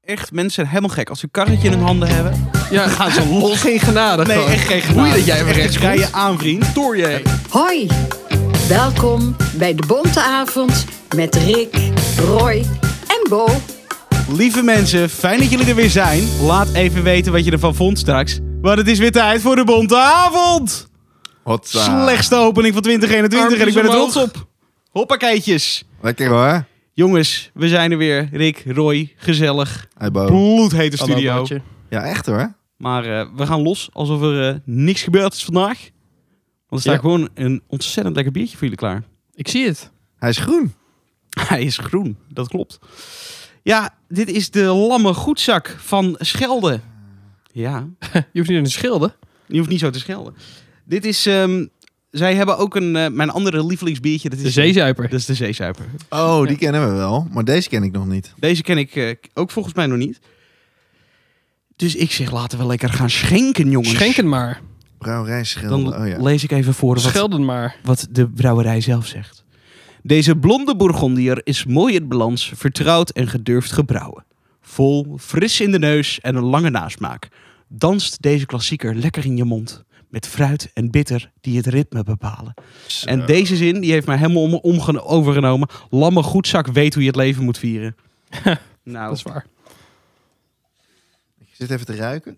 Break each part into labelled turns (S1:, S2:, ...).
S1: echt mensen helemaal gek. Als ze een karretje in hun handen hebben,
S2: Ja,
S1: gaan ze los.
S2: Geen genade.
S1: Nee,
S2: gewoon.
S1: echt geen
S2: Hoe je
S1: genade.
S2: dat jij weer
S1: Echt,
S2: rechts
S1: ik rij
S2: komt.
S1: je aan, vriend.
S2: Door je.
S3: Hoi, welkom bij de Bonte Avond met Rick, Roy en Bo.
S1: Lieve mensen, fijn dat jullie er weer zijn. Laat even weten wat je ervan vond straks. Want het is weer tijd voor de Bonte Avond.
S4: Wat eh,
S1: Slechtste opening van 2021 en ik ben er
S2: Armpjes
S1: trots op. Hoppakeetjes.
S4: Lekker hoor.
S1: Jongens, we zijn er weer. Rick, Roy, gezellig.
S4: Hey Bo.
S1: Bloedhete studio.
S2: Hallo, maatje.
S4: Ja, echt hoor.
S1: Maar eh, we gaan los alsof er eh, niks gebeurd is vandaag. Want er staat
S2: Ja.
S1: gewoon een ontzettend lekker biertje voor jullie klaar.
S2: Ik zie het.
S4: Hij is groen.
S1: Hij is groen, dat klopt. Ja, dit is de Lamme Goedzak van Schelde. Ja,
S2: Je hoeft niet in de schilden.
S1: je hoeft niet zo te schelden. Dit is, ehm, zij hebben ook een, eh, mijn andere lievelingsbiertje. Dat is
S2: De zeezuiper.
S1: Dat is de zeezuiper.
S4: Oh, die kennen we wel. Maar deze ken ik nog niet.
S1: Deze ken ik eh, ook volgens mij nog niet. Dus ik zeg, laten we lekker gaan schenken, jongens.
S2: Schenken maar.
S4: Brouwerij Schelde.
S1: Dan
S4: Oh ja.
S1: lees ik even voor wat,
S2: Schelden maar.
S1: wat de brouwerij zelf zegt. Deze blonde Bourgondier is mooi in balans, vertrouwd en gedurfd gebrouwen. Vol, fris in de neus en een lange nasmaak. Danst deze klassieker lekker in je mond. Met fruit en bitter die het ritme bepalen. En deze zin, die heeft mij helemaal om, omge- overgenomen. Lamme goedzak weet hoe je het leven moet vieren.
S2: Dat
S1: nou,
S2: is waar.
S4: Ik zit even te ruiken.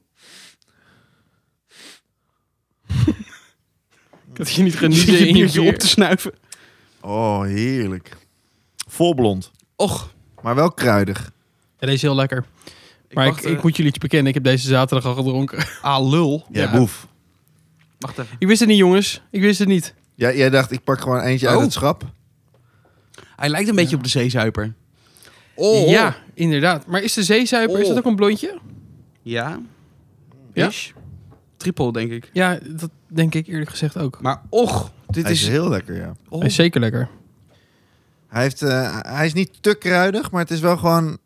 S2: Ik had je niet
S1: zit je
S2: genieten in je
S1: biertje op
S2: bier.
S1: te snuiven.
S4: Oh, heerlijk. Vol blond.
S1: Och,
S4: Maar wel kruidig.
S2: Ja, deze is heel lekker. Maar ik,
S1: wacht,
S2: ik
S1: eh,
S2: moet jullie iets bekennen. Ik heb deze zaterdag al gedronken.
S1: ah, lul.
S4: Ja,
S2: Ja.
S4: boef.
S1: Wacht even.
S2: Ik wist het niet, jongens. Ik wist het niet.
S4: Jij, jij dacht, ik pak gewoon eentje uit
S1: Oh.
S4: het schap.
S1: Hij lijkt een beetje op de zeezuiper. Oh.
S2: Ja, inderdaad. Maar is de zeezuiper, is dat
S1: Oh.
S2: ook een blondje?
S1: Ja.
S2: Ja?
S1: Ish. Triple, denk ik.
S2: Ja, dat denk ik eerlijk gezegd ook.
S1: Maar och, dit
S4: Hij is
S1: is...
S4: heel lekker, ja.
S1: oh.
S2: Hij is zeker lekker.
S4: Hij, heeft, eh, hij is niet te kruidig, maar het is wel gewoon...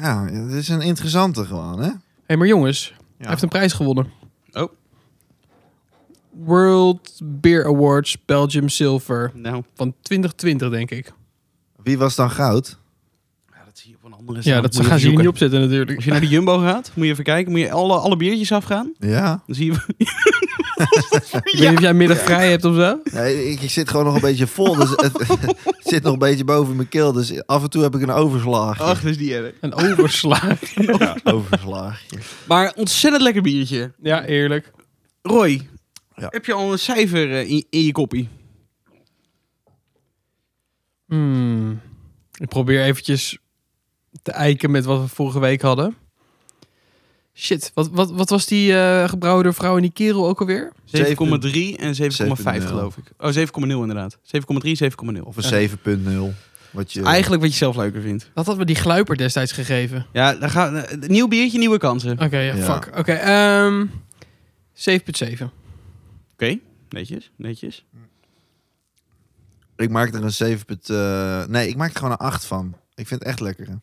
S4: Ja, het is een interessante gewoon, hè?
S2: Hé, maar jongens. Hij heeft een prijs gewonnen.
S1: Oh.
S2: World Beer Awards Belgium Silver
S1: Nou,
S2: van 2020, denk ik.
S4: Wie was dan goud?
S1: ja, dat zie je op een andere
S2: Ja, dat gaan ze hier niet opzetten natuurlijk.
S1: Als je naar de Jumbo gaat, moet je even kijken. Moet je alle, alle biertjes afgaan.
S4: Ja.
S1: Dan zie je...
S2: Ik weet niet of jij middag vrij hebt of zo.
S4: Nee, ik, ik zit gewoon nog een beetje vol. Dus het, het zit nog een beetje boven mijn keel. Dus af en toe heb ik een overslag.
S2: Oh,
S1: Ach, dat is die erg.
S2: Een overslaag.
S4: Overslaagje.
S1: Maar ontzettend lekker biertje.
S2: ja, eerlijk.
S1: Roy,
S4: Ja.
S1: heb je al een cijfer eh, in, in je koppie?
S2: Hmm. Ik probeer eventjes te eiken met wat we vorige week hadden. Shit, wat, wat, wat was die eh gebrouwen door vrouw en die kerel ook alweer?
S1: 7,3
S4: Zeven-
S1: en 7,5
S4: 7,0.
S1: geloof ik. Oh, 7,0 inderdaad. 7,3, 7,0.
S4: Of een 7.0 wat je
S1: Eigenlijk wat je zelf leuker vindt.
S2: Dat hadden we die gluiper destijds gegeven.
S1: Ja, dan gaan eh, nieuw biertje, nieuwe kansen. Oké,
S2: Oké, ja,
S4: Ja.
S2: fuck. Oké, ehm 7.7.
S1: netjes, netjes.
S4: Ik maak er een 7. punt, eh, nee, ik maak er gewoon een 8 van. Ik vind het echt lekker. hè.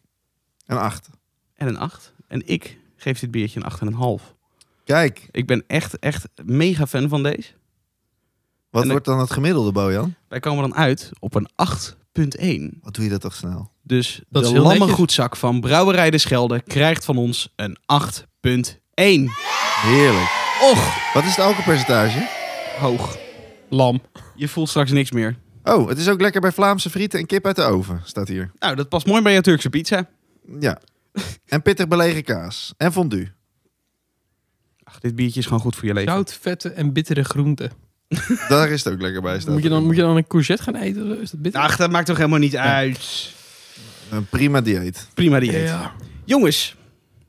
S4: Een 8.
S1: En een 8. En ik geef dit biertje een 8,5.
S4: Kijk,
S1: Ik ben echt, echt mega fan van deze.
S4: wat
S1: En
S4: wordt dan het gemiddelde, Bojan?
S1: Wij komen dan uit op een 8,1.
S4: Wat doe je dat toch snel?
S1: Dus
S2: Dat is
S1: de
S2: heel
S1: lamme
S2: netjes.
S1: goedzak van Brouwerij de Schelde krijgt van ons een 8,1.
S4: Heerlijk.
S1: Och,
S4: Wat is het alcoholpercentage?
S1: hoog.
S2: Lam.
S1: Je voelt straks niks meer.
S4: Oh, het is ook lekker bij Vlaamse frieten en kip uit de oven, staat hier.
S1: Nou, dat past mooi bij je Turkse pizza.
S4: Ja. En pittig belegen kaas. En fondue.
S1: Ach, dit biertje is gewoon goed voor je leven.
S2: Zout, vette en bittere groenten.
S4: Daar is het ook lekker bij, staat
S2: Moet je, dan,
S4: er.
S2: moet je dan een courgette gaan eten? Is dat bitter?
S1: Ach, dat maakt toch helemaal niet uit.
S4: Een prima dieet.
S1: Prima dieet.
S2: Ja.
S1: Jongens,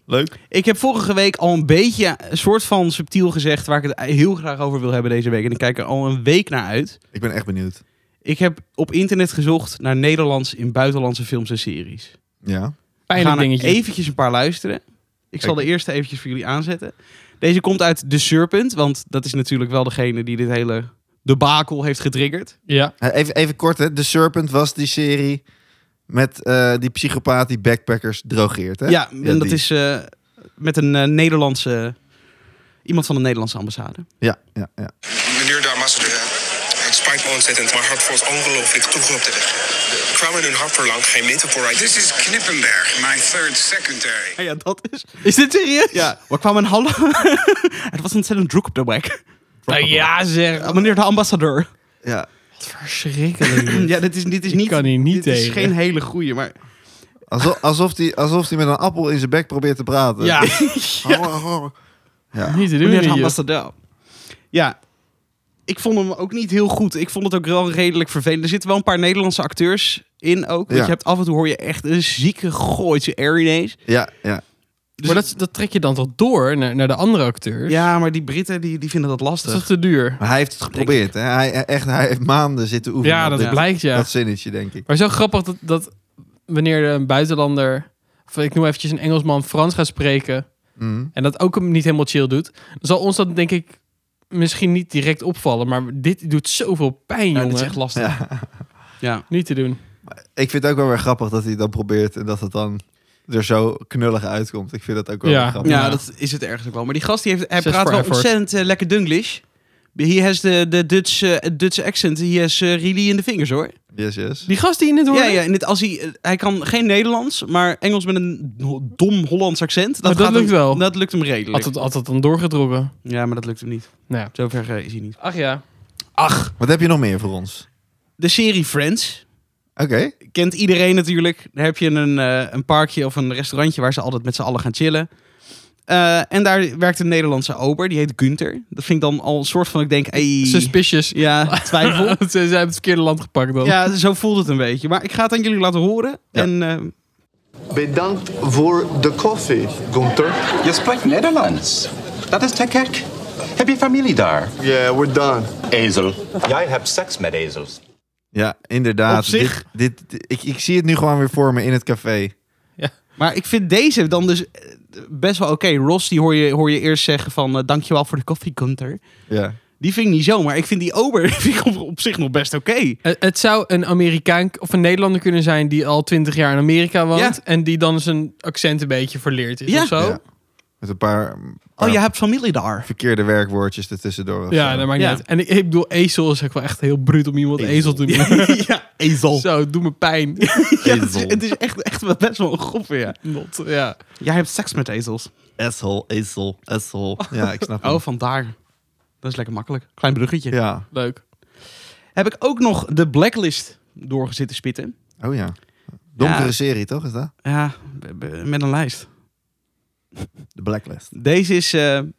S4: Leuk.
S1: Ik heb vorige week al een beetje een soort van subtiel gezegd waar ik het heel graag over wil hebben deze week. En ik kijk er al een week naar uit.
S4: Ik ben echt benieuwd.
S1: Ik heb op internet gezocht naar Nederlands in buitenlandse films en series.
S4: Ja.
S1: We
S2: Pijnlijk
S1: gaan er
S2: dingetje.
S1: eventjes een paar luisteren. Ik zal de eerste eventjes voor jullie aanzetten. Deze komt uit The Serpent, want dat is natuurlijk wel degene die dit hele debakel heeft getriggerd.
S2: Ja.
S4: Eh, Even, even kort, hè. The Serpent was die serie met eh, die psychopaat die backpackers drogeert, hè?
S1: Ja, en dat
S4: die.
S1: is eh, met een eh, Nederlandse... Iemand van de Nederlandse ambassade.
S4: Ja, ja, ja.
S5: Meneer de ambassadeur, het spijt me ontzettend, maar hart voor ongelooflijk toegeopterig. Kwamen hun hart verlang geen minuten vooruit.
S6: This is Knippenberg, my third secretary.
S1: Ah Ja, dat is...
S2: Is dit serieus?
S1: Ja, we kwamen een hallo... het was ontzettend druk op de weg.
S2: Nou ja, zeg.
S1: Ja, meneer de ambassadeur.
S4: Ja.
S2: Verschrikkelijk.
S1: Ja, dit is, dit is
S2: Ik
S1: niet...
S2: kan hier niet
S1: dit is
S2: tegen.
S1: geen hele goeie, maar...
S4: Alsof, alsof, die, alsof die met een appel in zijn bek probeert te praten.
S2: Ja,
S4: Ja.
S2: niet te doen.
S1: Meneer de
S2: hier.
S1: ambassadeur. Ja. Ik vond hem ook niet heel goed. Ik vond het ook wel redelijk vervelend. Er zitten wel een paar Nederlandse acteurs in ook. Want
S4: Ja.
S1: je hebt af en toe hoor je echt een zieke gooitje Arinaise.
S4: Ja, ja.
S2: Maar dat, dat trek je dan toch door naar, naar de andere acteurs?
S1: Ja, maar die Britten die, die vinden dat
S2: Dat
S1: lastig.
S2: is toch te duur?
S4: Maar hij heeft het geprobeerd. Hè? Hij, echt, hij heeft maanden zitten oefenen.
S2: Ja,
S4: op
S2: dat
S4: dit-
S2: blijkt ja.
S4: dat zinnetje, denk ik.
S2: Maar zo grappig dat, dat wanneer een buitenlander, of ik noem eventjes een Engelsman, Frans gaat spreken
S4: Mhm.
S2: en dat ook hem niet helemaal chill doet, dan zal ons dat denk ik misschien niet direct opvallen. Maar dit doet zoveel pijn,
S1: Ja, dit
S2: jongen.
S1: is echt lastig.
S4: Ja.
S1: Ja.
S2: Niet te doen.
S4: Ik vind het ook wel weer grappig dat hij dat probeert en dat het dan er zo knullig uitkomt. Ik vind dat ook wel
S2: Ja.
S4: weer
S1: Ja,
S4: grappig.
S1: dat is het ergens ook wel. Maar die gast die heeft, hij
S2: eh, Zes
S1: praat
S2: voor
S1: wel
S2: effort.
S1: ontzettend eh, lekker Dunglish. He has the, the Dutch, eh, Dutch accent. He has eh, really in the fingers hoor.
S4: Yes, yes.
S2: Die gast die in het hoorde,
S1: Ja, ja en het, als hij, eh, hij kan geen Nederlands, maar Engels met een dom Hollands accent. Dat,
S2: Maar dat
S1: gaat hem-
S2: lukt wel.
S1: Dat lukt hem redelijk.
S2: had, het, had het dan doorgedrongen.
S1: Ja, maar dat lukt hem niet.
S2: Nou ja.
S1: Zover eh, is hij niet.
S2: Ach ja.
S1: Ach,
S4: Wat heb je nog meer voor ons?
S1: de serie Friends.
S4: Oké.
S1: Kent iedereen natuurlijk. Daar heb je een, eh, een parkje of een restaurantje waar ze altijd met z'n allen gaan chillen. Eh, en daar werkt een Nederlandse ober, die heet Gunther. Dat vind ik dan al een soort van, ik denk, hey,
S2: Suspicious.
S1: ja, twijfel.
S2: Ze zijn het verkeerde land gepakt dan.
S1: ja, zo voelt het een beetje. Maar ik ga het aan jullie laten horen. En eh,
S7: Bedankt voor de koffie, Gunther.
S8: Je spreekt Nederlands. Dat is te gek. Heb je familie daar?
S7: Yeah, we're done.
S8: Ezel. Jij hebt seks met ezels.
S4: Ja, inderdaad.
S1: Op zich-
S4: Dit, dit, dit- ik, ik zie het nu gewoon weer voor me in het café.
S1: Maar ik vind deze dan dus eh, best wel oké. Ross, die hoor je, hoor je eerst zeggen van... eh, dankjewel voor de koffie, Gunther.
S4: Ja.
S1: Die vind ik niet zo, maar ik vind die ober vind ik op, op zich nog best oké.
S2: Het, Eh, het zou een Amerikaan of een Nederlander kunnen zijn die al twintig jaar in Amerika woont
S1: Ja.
S2: en die dan zijn accent een beetje verleerd is
S1: Ja.
S2: of zo.
S4: Ja. Met een paar,
S1: Oh,
S4: paar
S1: je hebt familie daar.
S4: verkeerde werkwoordjes ertussendoor. of
S2: Ja,
S4: zo.
S2: dat maakt
S1: Ja.
S2: niet uit. En ik, ik bedoel, ezel is ook wel echt heel bruut om iemand ezel, te noemen.
S1: ja, ezel.
S2: Zo, het doet me pijn.
S1: Ja, het is, het is echt, echt wel best wel een grof, ja.
S2: Not, ja.
S1: Jij hebt seks met ezels.
S4: Asshole, asshole, asshole. Ja, ik snap het.
S1: Oh, vandaar. Dat is lekker makkelijk. Klein bruggetje.
S4: Ja.
S2: Leuk.
S1: Heb ik ook nog de blacklist doorgezitten spitten.
S4: Oh ja. Donkere
S1: Ja.
S4: serie, toch? Is dat?
S1: Ja, b- b- met een lijst.
S4: De Blacklist.
S1: Deze is... eh, nee,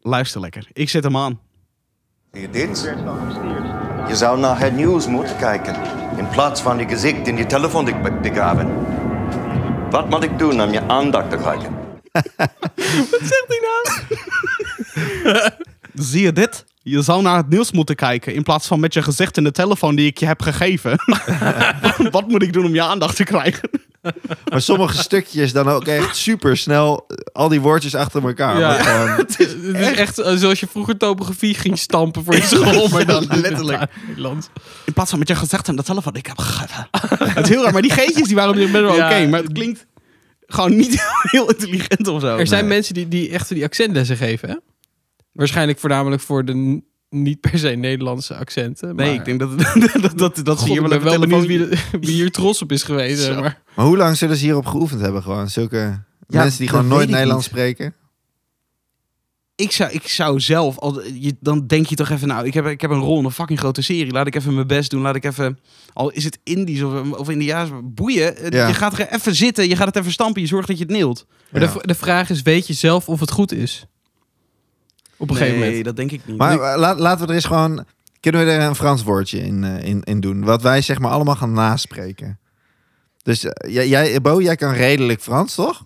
S1: Luister lekker. Ik zet hem aan.
S9: Meneer Dins, je zou naar het nieuws moeten kijken. In plaats van die gezicht in die telefoon te te graven. Wat moet ik doen om je aandacht te krijgen?
S2: nou.
S1: Zie je dit? Je zou naar het nieuws moeten kijken in plaats van met je gezicht in de telefoon die ik je heb gegeven. Wat moet ik doen om je aandacht te krijgen?
S4: Maar sommige stukjes dan ook echt super snel. Al die woordjes achter elkaar.
S2: Ja.
S4: Maar gewoon-
S2: Het is echt eh, zoals je vroeger topografie ging stampen voor je school, maar dan
S1: Letterlijk.
S2: Nederland.
S1: In plaats van met je gezicht in de telefoon die ik heb gegeven. Het is heel raar, maar die geetjes die waren op zich best wel
S2: Ja.
S1: oké, maar het klinkt gewoon niet heel intelligent of zo.
S2: Er zijn mensen die, die echt die accentlessen geven, hè? Waarschijnlijk voornamelijk voor de n- niet per se Nederlandse accenten.
S1: Nee,
S2: maar-
S1: ik denk dat, dat, dat, dat, dat
S2: God,
S1: zie je
S2: ik
S1: wel
S2: ben
S1: even
S2: wel
S1: telefoon.
S2: benieuwd wie, de- wie hier trots op is geweest.
S1: Zo.
S2: zeg Maar.
S4: Maar hoe lang zullen ze hierop geoefend hebben? Gewoon zulke mensen die
S1: dat
S4: gewoon
S1: weet
S4: nooit
S1: ik
S4: Nederlands
S1: niet.
S4: spreken.
S1: Ik zou, ik zou zelf, al, je, dan denk je toch even, nou, ik heb, ik heb een rol in een fucking grote serie. Laat ik even mijn best doen. Laat ik even, al is het Indisch of, of Indiaas, boeien. Eh,
S4: Ja.
S1: Je gaat er even zitten, je gaat het even stampen, je zorgt dat je het neelt.
S2: Maar
S4: Ja.
S2: de, v- de vraag is, weet je zelf of het goed is? Op een gegeven moment.
S1: dat denk ik niet.
S4: Maar eh, la- laten we er eens gewoon... Kunnen we er een Frans woordje in, eh, in, in doen? Wat wij zeg maar allemaal gaan naspreken. Dus eh, jij, jij, Bo, jij kan redelijk Frans, toch?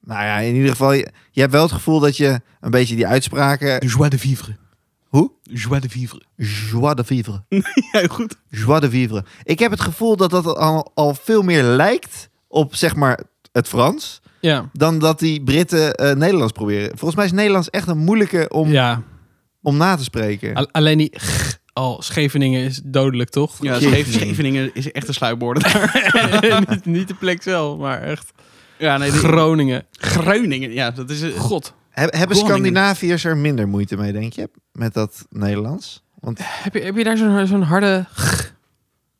S4: Nou ja, in ieder geval... Je, je hebt wel het gevoel dat je een beetje die uitspraken...
S1: joie de vivre.
S4: Hoe?
S1: Joie de vivre.
S4: Joie de vivre.
S1: Ja, goed.
S4: Joie de vivre. Ik heb het gevoel dat dat al, al veel meer lijkt op zeg maar het Frans...
S2: Ja.
S4: dan dat die Britten eh, Nederlands proberen. Volgens mij is Nederlands echt een moeilijke om,
S2: ja.
S4: om na te spreken.
S2: Al- alleen die g al Scheveningen is dodelijk, toch?
S1: Ja,
S4: Jeetje.
S1: Scheven- Scheveningen is echt een sluipborden daar.
S2: niet, niet de plek zelf, maar echt.
S1: ja, Ah, nee, die-
S2: Groningen.
S1: Groningen, ja, dat is... eh,
S2: God.
S4: Heb- hebben
S1: Groningen.
S4: Scandinaviërs er minder moeite mee, denk je? Met dat Nederlands? Want
S2: Heb je, heb je daar zo'n zo'n harde...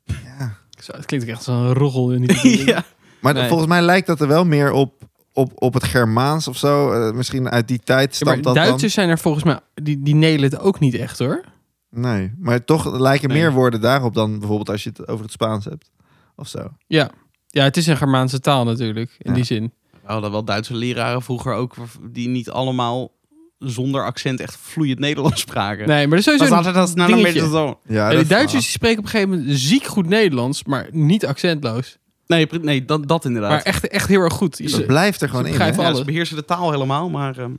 S4: ja.
S2: Zo, het klinkt ook echt als een roggel. In die
S1: ja.
S4: Maar
S2: Nee.
S4: volgens mij lijkt dat er wel meer op, op, op het Germaans of zo. Eh, misschien uit die tijd
S2: Ja, maar
S4: stamt dat
S2: Duitsers zijn er volgens mij... Die, die nelen het ook niet echt hoor.
S4: dan. Nee, maar toch lijken
S2: Nee.
S4: meer woorden daarop dan bijvoorbeeld als je het over het Spaans hebt. Of zo.
S2: Ja. Ja, het is een Germaanse taal natuurlijk. In
S4: Ja.
S2: die zin.
S1: We hadden wel Duitse leraren vroeger ook, die niet allemaal zonder accent echt vloeiend Nederlands spraken.
S2: Nee, maar er is
S1: dat is
S2: sowieso
S1: altijd
S2: een
S1: als nou een beetje
S2: dingetje.
S1: zo.
S4: Ja,
S2: En die
S4: dat-
S2: Duitsers die spreken op een gegeven moment ziek goed Nederlands, maar niet accentloos.
S1: Nee, pre- nee dat, dat inderdaad.
S2: Maar echt, echt heel erg goed.
S4: Ah,
S2: Ze-
S4: dat blijft er gewoon
S2: ze
S4: in. hè?
S2: begrijpen
S1: Ja,
S2: alles.
S1: ze beheersen de taal helemaal, maar... ehm,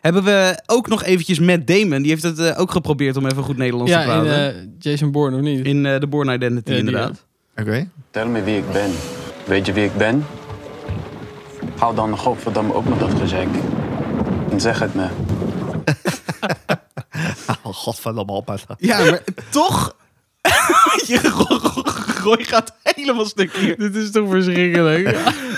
S1: Hebben we ook nog eventjes Matt Damon. Die heeft het eh, ook geprobeerd om even goed Nederlands te
S2: ja, in
S1: praten.
S2: eh, Jason Bourne of niet?
S1: In eh The Born Identity,
S2: Ja, die,
S1: inderdaad.
S4: Oké.
S10: Vertel me wie ik ben. Weet je wie ik ben? Hou dan godverdamme ook met dat gezeik. En zeg het me.
S4: Oh, godverdomme op. uit.
S1: Ja, maar toch... Je ro- ro- gooi gaat helemaal stuk hier.
S2: Dit is toch verschrikkelijk?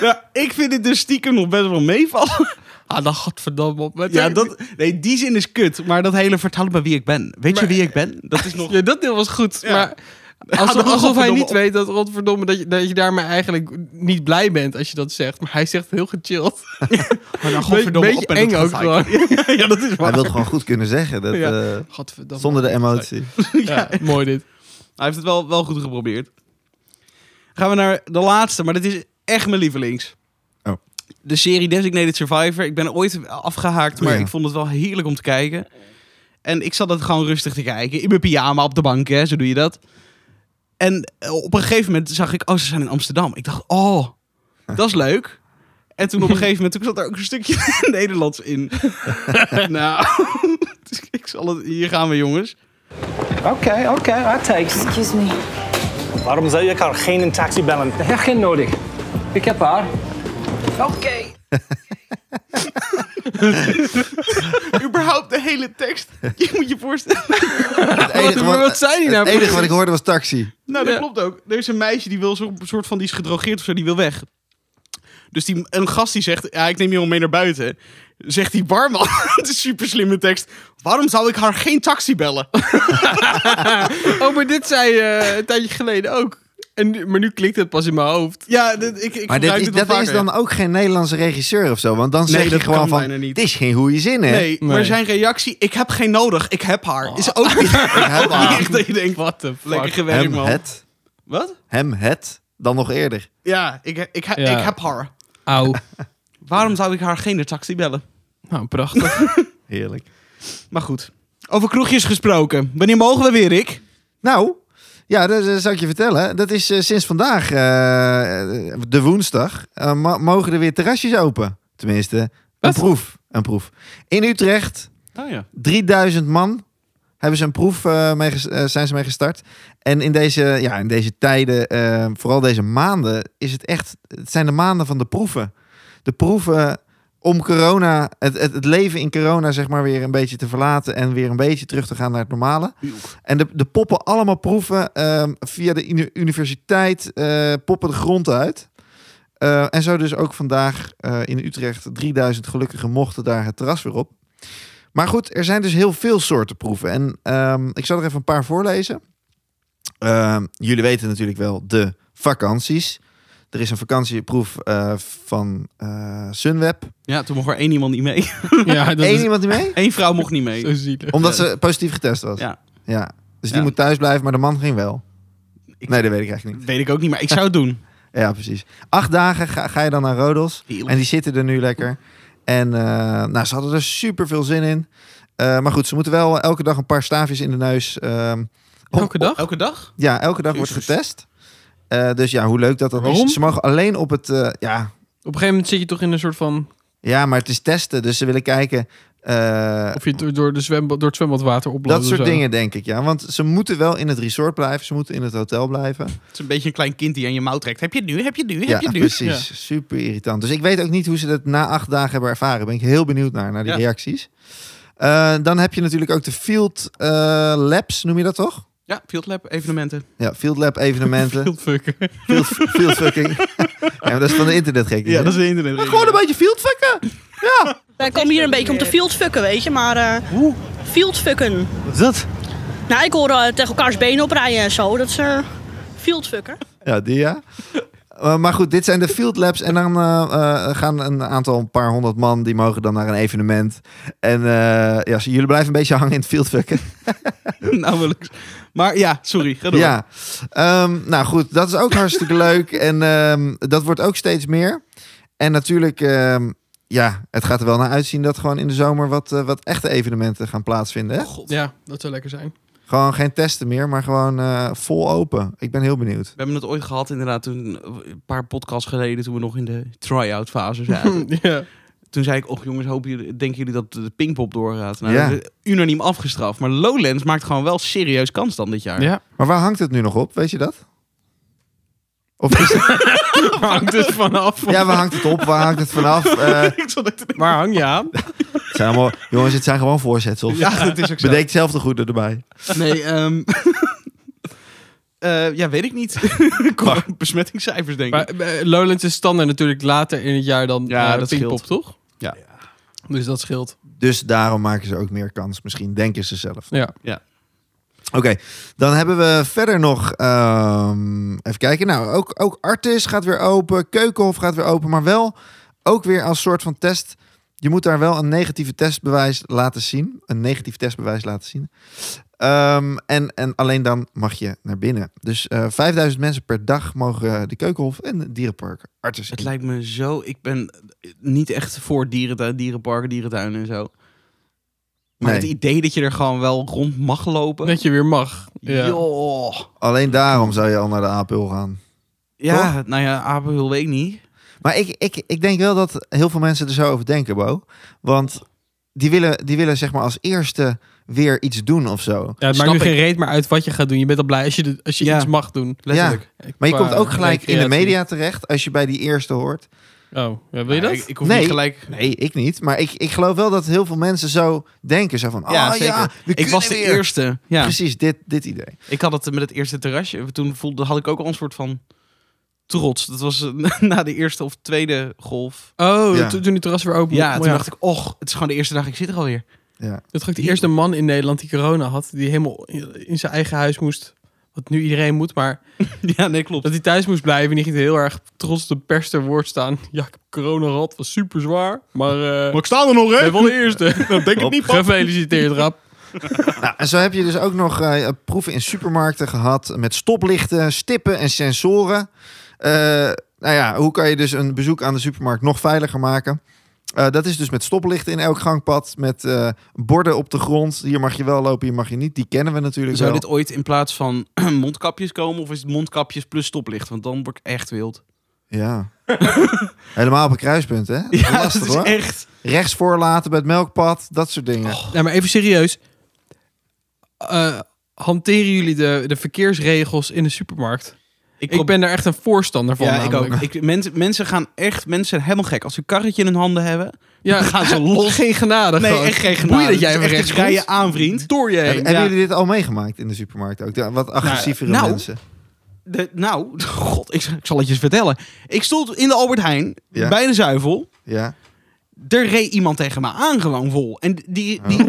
S1: Nou, ik vind dit dus stiekem nog best wel meevallen.
S2: ah, dan godverdamme op. met-
S1: Ja, dat, nee, die zin is kut. Maar dat hele vertellen maar wie ik ben. Weet je
S2: Maar-
S1: wie ik ben? Dat is nog...
S2: Ja, dat deel was goed,
S1: Ja.
S2: maar...
S1: dan
S2: Alsof, alsof hij
S1: godverdomme
S2: niet
S1: op.
S2: weet dat, godverdomme, dat je, dat je daarmee eigenlijk niet blij bent als je dat zegt. Maar hij zegt heel gechilled.
S1: Maar nou,
S2: Godverdomme,
S1: beetje
S2: op en
S1: eng
S2: dat
S1: ook
S2: gaat
S1: gewoon. ja, dat is
S4: Hij
S1: waar.
S4: wil het gewoon goed kunnen zeggen. Dat,
S2: Ja.
S4: eh,
S2: Godverdamme.
S4: zonder de emotie. Oh.
S2: Ja, mooi dit.
S1: Hij heeft het wel, wel goed geprobeerd. Gaan we naar de laatste, maar dit is echt mijn lievelings.
S4: Oh.
S1: De serie Designated Survivor. Ik ben er ooit afgehaakt, maar
S4: Oh ja.
S1: ik vond het wel heerlijk om te kijken. En ik zat het gewoon rustig te kijken. In mijn pyjama op de bank, hè, zo doe je dat. En eh, op een gegeven moment zag ik, oh, ze zijn in Amsterdam. Ik dacht, oh, dat is leuk. En toen op een gegeven moment, toen zat er ook een stukje Nederlands in. nou, dus ik zal het, hier gaan we jongens.
S8: Oké, oké, I take it.
S3: Excuse me.
S10: Waarom zou je elkaar geen taxi bellen?
S8: Heb geen nodig. Ik heb haar.
S1: überhaupt de hele tekst. Je moet je voorstellen.
S4: Het enige
S2: maar wat zei hij nou
S4: Het enige wat ik hoorde was taxi.
S1: Nou, dat
S2: Ja.
S1: klopt ook. Er is een meisje die wil zo'n soort van, die is gedrogeerd of zo, die wil weg. Dus die, een gast die zegt, ja, ik neem je wel mee naar buiten. Zegt die barman, het is super slimme tekst. Waarom zou ik haar geen taxi bellen?
S2: Oh, maar dit zei je een tijdje geleden ook. En, nu- maar nu klikt het pas in mijn hoofd.
S1: Ja, dit- ik, ik
S4: Maar dit
S1: gebruik
S4: is,
S1: dit wel
S4: dat is
S1: vaker,
S4: dan ook geen Nederlandse regisseur of zo. Want dan
S1: Nee,
S4: zeg je
S1: dat
S4: gewoon
S1: kan
S4: van,
S1: bijna niet.
S4: dit is geen goede zin, hè?
S1: ja. Nee, maar
S2: Nee.
S1: zijn reactie, ik heb geen nodig, ik heb haar. Is ook niet ook niet echt dat je denkt, wat
S2: What the fuck?
S1: lekker gewerkt
S4: hem
S1: man.
S4: het,
S1: Wat?
S4: hem het, dan nog eerder.
S1: Ja ik, ik, ik,
S2: Ja.
S1: ik heb haar.
S2: Auw.
S1: Waarom zou ik haar geen taxi bellen?
S2: Nou, prachtig.
S4: Heerlijk.
S1: Maar goed. Over kroegjes gesproken. Wanneer mogen we weer, Rick?
S4: Nou, ja, dat, dat zou ik je vertellen. Dat is eh, sinds vandaag, eh, eh, de woensdag, eh, ma- mogen er weer terrasjes open. Tenminste, een
S2: Wat?
S4: proef. Een proef. In Utrecht,
S1: Oh ja.
S4: 3000 man hebben ze een proef eh, mee ges- eh, zijn ze mee gestart. En in deze, ja, in deze tijden, eh, vooral deze maanden, is het echt. Het zijn de maanden van de proeven. De proeven om corona, het, het, het leven in corona, zeg maar, weer een beetje te verlaten en weer een beetje terug te gaan naar het normale. En de, de poppen allemaal proeven ehm, via de uni- universiteit, eh, poppen de grond uit. Eh, en zo dus ook vandaag eh, in Utrecht 3000 gelukkigen mochten daar het terras weer op. Maar goed, er zijn dus heel veel soorten proeven. En ehm, ik zal er even een paar voorlezen. Ehm, jullie weten natuurlijk wel de vakanties. Er is een vakantieproef eh, van eh, Sunweb.
S1: Ja, toen mocht er één iemand niet mee.
S2: ja, dat
S4: Eén
S2: is
S4: iemand niet mee?
S1: Eén vrouw mocht niet mee.
S2: zo zielig.
S4: Omdat ze positief getest was.
S1: Ja.
S4: ja. Dus die
S1: Ja.
S4: moet thuis blijven, maar de man ging wel.
S1: Ik-
S4: Nee, dat weet ik eigenlijk niet.
S1: Weet ik ook niet, maar ik zou het doen.
S4: Ja, precies. Acht dagen ga, ga je dan naar Rodos. En die zitten er nu lekker. En eh, nou, ze hadden er super veel zin in. Eh, maar goed, ze moeten wel elke dag een paar staafjes in de neus. ehm, om-
S2: Elke dag?
S1: Elke dag?
S4: Ja, elke dag wordt
S1: Jezus.
S4: getest. Eh, dus ja, hoe leuk dat dat
S2: Waarom?
S4: is. Ze mogen alleen op het... eh, ja,
S2: Op een gegeven moment zit je toch in een soort van...
S4: ja, maar het is testen. Dus ze willen kijken... eh,
S2: Of je door, door, de zwembad, door het zwembadwater oploopt.
S4: dat
S2: of
S4: soort
S2: zo.
S4: dingen, denk ik, ja. Want ze moeten wel in het resort blijven. Ze moeten in het hotel blijven.
S1: Het is een beetje een klein kind die aan je mouw trekt. Heb je het nu? Heb je het nu?
S4: Ja,
S1: Heb je het nu?
S4: precies. Super irritant. Dus ik weet ook niet hoe ze dat na acht dagen hebben ervaren. Ben ik heel benieuwd naar, naar die
S1: Ja.
S4: reacties. Eh, dan heb je natuurlijk ook de Field eh, Labs, noem je dat toch?
S1: Ja, Field Lab evenementen.
S4: Ja, Field Lab evenementen.
S2: Fieldfucker.
S4: field, field fucking. ja, maar dat is van de internetgek. hè?
S1: de internet.
S4: Gewoon een beetje field fucken.
S11: Wij komen hier een beetje om te fieldfucken, weet je. Maar eh, Fieldfucken.
S4: Wat is dat?
S11: Nou, ik hoor eh, tegen elkaars benen oprijden en zo. Dat is eh fieldfucken.
S4: Ja, die ja. Eh, maar goed, dit zijn de field labs. En dan eh, eh, gaan een aantal, een paar honderd man, die mogen dan naar een evenement. En eh, ja, jullie blijven een beetje hangen in het fieldfucken.
S1: nou, wil ik... Maar ja, sorry, ga door.
S4: Ja, Ehm, nou goed, dat is ook hartstikke leuk. En ehm, dat wordt ook steeds meer. En natuurlijk, ehm, ja, het gaat er wel naar uitzien dat gewoon in de zomer wat, eh, wat echte evenementen gaan plaatsvinden. Hè?
S2: Ja, dat zou lekker zijn.
S4: Gewoon geen testen meer, maar gewoon eh, vol open. Ik ben heel benieuwd.
S1: We hebben het ooit gehad, inderdaad, toen, een paar podcasts geleden, toen we nog in de try-out fase zaten.
S2: ja.
S1: Toen zei ik, och jongens, hopen jullie, denken jullie dat de Pinkpop doorgaat? Nou,
S4: Ja.
S1: dat is unaniem afgestraft. Maar Lowlands maakt gewoon wel serieus kans dan dit jaar.
S2: Ja.
S4: Maar waar hangt het nu nog op? Weet je dat? Of is
S2: Hangt dus vanaf.
S4: Ja, waar hangt het op? Waar hangt het vanaf? Eh,
S1: Ik zal het-
S2: Waar hang je aan?
S4: het zijn allemaal, jongens, het zijn gewoon voorzetsels.
S1: Ja, dat is ook zo.
S4: Bedenk zelf de goede erbij.
S1: Nee, ehm, eh, ja, weet ik niet. Kom, besmettingscijfers, denk ik.
S2: Maar eh, Lowlands is standaard natuurlijk later in het jaar dan
S1: Ja,
S2: eh,
S1: dat
S2: Pinkpop,
S1: scheelt.
S2: toch?
S4: Ja.
S2: Dus dat scheelt.
S4: Dus daarom maken ze ook meer kans. Misschien denken ze zelf.
S2: Ja.
S4: Oké, dan hebben we verder nog... ehm, even kijken. Nou, ook, ook Artis gaat weer open. Keukenhof gaat weer open. Maar wel ook weer als soort van test. Je moet daar wel een negatieve testbewijs laten zien. Een negatief testbewijs laten zien. Ehm, en, en alleen dan mag je naar binnen. Dus eh 5000 mensen per dag mogen de Keukenhof en het Dierenpark Artis
S1: Het
S4: in.
S1: lijkt me zo... Ik ben niet echt voor dierentuin, dierenparken, dierentuinen en zo. Maar
S4: Nee.
S1: het idee dat je er gewoon wel rond mag lopen...
S2: Dat je weer mag. Ja.
S1: Joh.
S4: Alleen daarom zou je al naar de Apel gaan.
S1: Ja, nou ja, Apenhul weet ik niet.
S4: Maar ik, ik, ik denk wel dat heel veel mensen er zo over denken, Bo. Want die willen, die willen zeg maar als eerste weer iets doen of zo.
S2: Ja,
S1: Snap
S2: het maakt nu
S1: ik.
S2: geen reet maar uit wat je gaat doen. Je bent al blij als je, de- als je
S1: Ja.
S2: iets mag doen.
S1: Letterlijk. eh,
S4: Maar je
S2: Qua
S4: komt ook gelijk in de
S2: recreatie.
S4: media terecht als je bij die eerste hoort.
S2: Oh, ja, wil je dat?
S1: Ik, ik hoef
S4: Nee.
S1: niet gelijk...
S4: Nee, ik niet. Maar ik, ik geloof wel dat heel veel mensen zo denken. Zo van,
S1: Ja,
S4: ah
S1: zeker.
S4: ja, we
S1: ik was de
S4: kunnen weer.
S1: eerste. Ja.
S4: Precies, dit, dit idee.
S1: Ik had het met het eerste terrasje. Toen voelde, had ik ook al een soort van trots. Dat was eh, na de eerste of tweede golf.
S2: Oh,
S4: Ja.
S2: toen toen die terras weer open
S1: Ja,
S2: mocht.
S1: toen dacht ik, och, het is gewoon de eerste dag. Ik zit er alweer.
S4: Ja.
S2: Dat was ook de eerste man in Nederland die corona had. Die helemaal in in zijn eigen huis moest. Wat nu iedereen moet, maar
S1: Ja, nee, klopt.
S2: dat hij thuis moest blijven. En die ging heel erg trots op de pers ter woord staan. Ja, ik heb corona gehad. Was super zwaar. Maar, eh
S1: ik sta er nog,
S2: ik ben wel de eerste. Dat denk
S4: ik niet,
S2: Gefeliciteerd, Rap.
S4: Nou, en zo heb je dus ook nog eh, proeven in supermarkten gehad met stoplichten, stippen en sensoren. Eh, nou ja, hoe kan je dus een bezoek aan de supermarkt nog veiliger maken? Eh, dat is dus met stoplichten in elk gangpad, met eh, borden op de grond. Hier mag je wel lopen, hier mag je niet. Die kennen we natuurlijk
S1: Zou
S4: wel.
S1: dit ooit in plaats van mondkapjes komen? Of is het mondkapjes plus stoplicht? Want dan word ik echt wild.
S4: Ja. Helemaal op een kruispunt, hè? Dat is
S1: Ja,
S4: lastig,
S1: dat is
S4: hoor.
S1: echt... Oh,
S4: Rechts voorlaten bij het melkpad, dat soort dingen.
S2: Nou, maar even serieus. Eh, hanteren jullie de, de verkeersregels in de supermarkt?
S1: Ik,
S2: Ik ben daar echt een voorstander van.
S1: ja, ik ook.
S2: namelijk.
S1: Ik, mensen, mensen gaan echt mensen helemaal gek. Als ze een karretje in hun handen hebben,
S2: Ja.
S1: dan gaan ze los.
S2: Geen genade.
S1: Nee,
S2: gewoon.
S1: echt geen genade.
S2: Boeien dat jij
S1: Het is
S2: even
S1: echt
S2: rechts
S1: een vrije aanvriend.
S2: Door je heen.
S4: Hebben
S1: ja.
S4: jullie dit al meegemaakt in de supermarkt ook? De wat agressievere
S1: nou,
S4: mensen.
S1: De, nou, god, ik, ik zal het je eens vertellen. Ik stond in de Albert Heijn,
S4: Ja.
S1: bij de zuivel.
S4: Ja.
S1: Er reed iemand tegen me aan gewoon vol. En die... die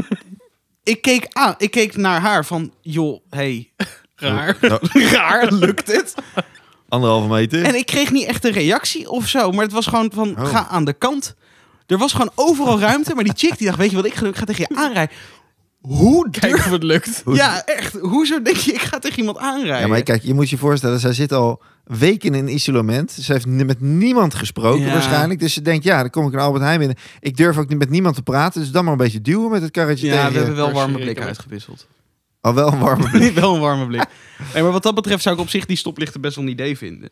S1: Ik keek, aan, ik keek naar haar van, joh, hey,
S2: Raar.
S1: raar, lukt het?
S4: Anderhalve meter.
S1: En ik kreeg niet echt een reactie of zo, maar het was gewoon van,
S4: Oh.
S1: ga aan de kant. Er was gewoon overal ruimte, maar die chick die dacht, weet je wat ik ga doen? Ik ga tegen je aanrijden. Hoe
S2: Kijken
S1: durf...
S2: of het lukt.
S1: Ja, echt. Hoezo denk je, ik ga tegen iemand aanrijden?
S4: Ja, maar kijk, je moet je voorstellen, zij zit al weken in isolement. Ze heeft ni- met niemand gesproken
S1: Ja.
S4: waarschijnlijk. Dus ze denkt, ja, dan kom ik in Albert Heijn binnen. Ik durf ook niet met niemand te praten, dus dan maar een beetje duwen met het karretje
S1: Ja,
S4: tegen
S1: we
S4: je.
S1: hebben wel warme
S2: Verschrikkelijk.
S1: blikken uitgewisseld.
S4: Al wel een warme blik.
S1: wel een warme blik. Nee, maar wat dat betreft zou ik op zich die stoplichten best wel een idee vinden.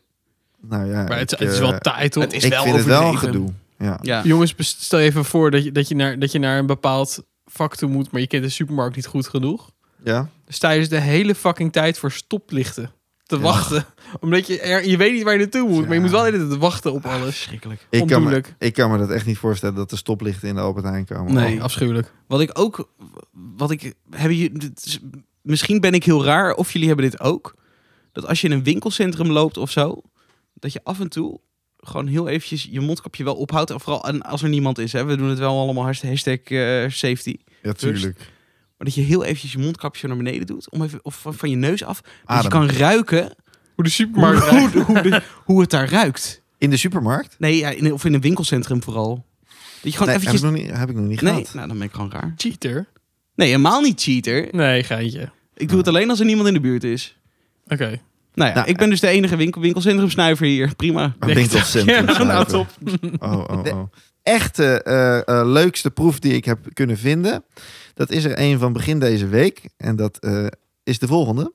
S4: Nou ja,
S2: Maar het,
S4: ik,
S2: het is
S4: eh,
S2: wel taai, toch?
S1: het is
S4: ik
S1: wel
S4: vind het wel een
S1: overdreven.
S4: gedoe. Ja.
S1: Ja.
S2: Jongens, best- stel je even voor dat je, dat, je naar, dat je naar een bepaald vak toe moet, maar je kent de supermarkt niet goed genoeg.
S4: ja.
S2: Dan sta je dus de hele fucking tijd voor stoplichten te
S4: Ja.
S2: wachten. Omdat je, er, je weet niet waar je naartoe moet, maar je moet wel de hele tijd wachten op alles.
S1: Schrikkelijk.
S4: Ik, kan me,
S2: Ondoenlijk.
S4: ik kan me dat echt niet voorstellen dat de stoplichten in de Albert Heijn komen. Oh,
S1: Nee.
S2: afschuwelijk.
S1: Wat ik ook... Wat ik, hebben jullie, dit is- misschien ben ik heel raar, of jullie hebben dit ook. Dat als je in een winkelcentrum loopt of zo... Dat je af en toe gewoon heel eventjes je mondkapje wel ophoudt. En vooral en als er niemand is. Hè, we doen het wel allemaal hashtag eh, safety.
S4: Ja, tuurlijk.
S1: Maar Maar dat je heel eventjes je mondkapje naar beneden doet. Om even, of van van je neus af. Dat je
S4: Adem.
S1: kan ruiken
S2: Hoe de
S1: hoe,
S2: supermarkt
S1: hoe, hoe, de- hoe het daar ruikt.
S4: In de supermarkt?
S1: Nee, ja, in, of in een winkelcentrum vooral. Dat je gewoon
S4: Nee,
S1: eventjes...
S4: heb, ik nog niet, heb ik nog niet
S1: Nee,
S4: gehad.
S1: nou, dan ben ik gewoon raar.
S2: Cheater?
S1: Nee, helemaal niet cheater.
S2: Nee, geintje.
S1: Ik doe het alleen als er niemand in de buurt is.
S2: Oké.
S1: Nou ja,
S4: Nou,
S1: ik ben dus de enige winkel, winkelcentrumsnuiver hier. Prima.
S4: Een winkelcentrum.
S2: Ja, nou,
S4: sluiten.
S2: top.
S4: Oh, oh, oh. Echte eh, eh, leukste proef die ik heb kunnen vinden. Dat is er een van begin deze week. En dat eh, is de volgende.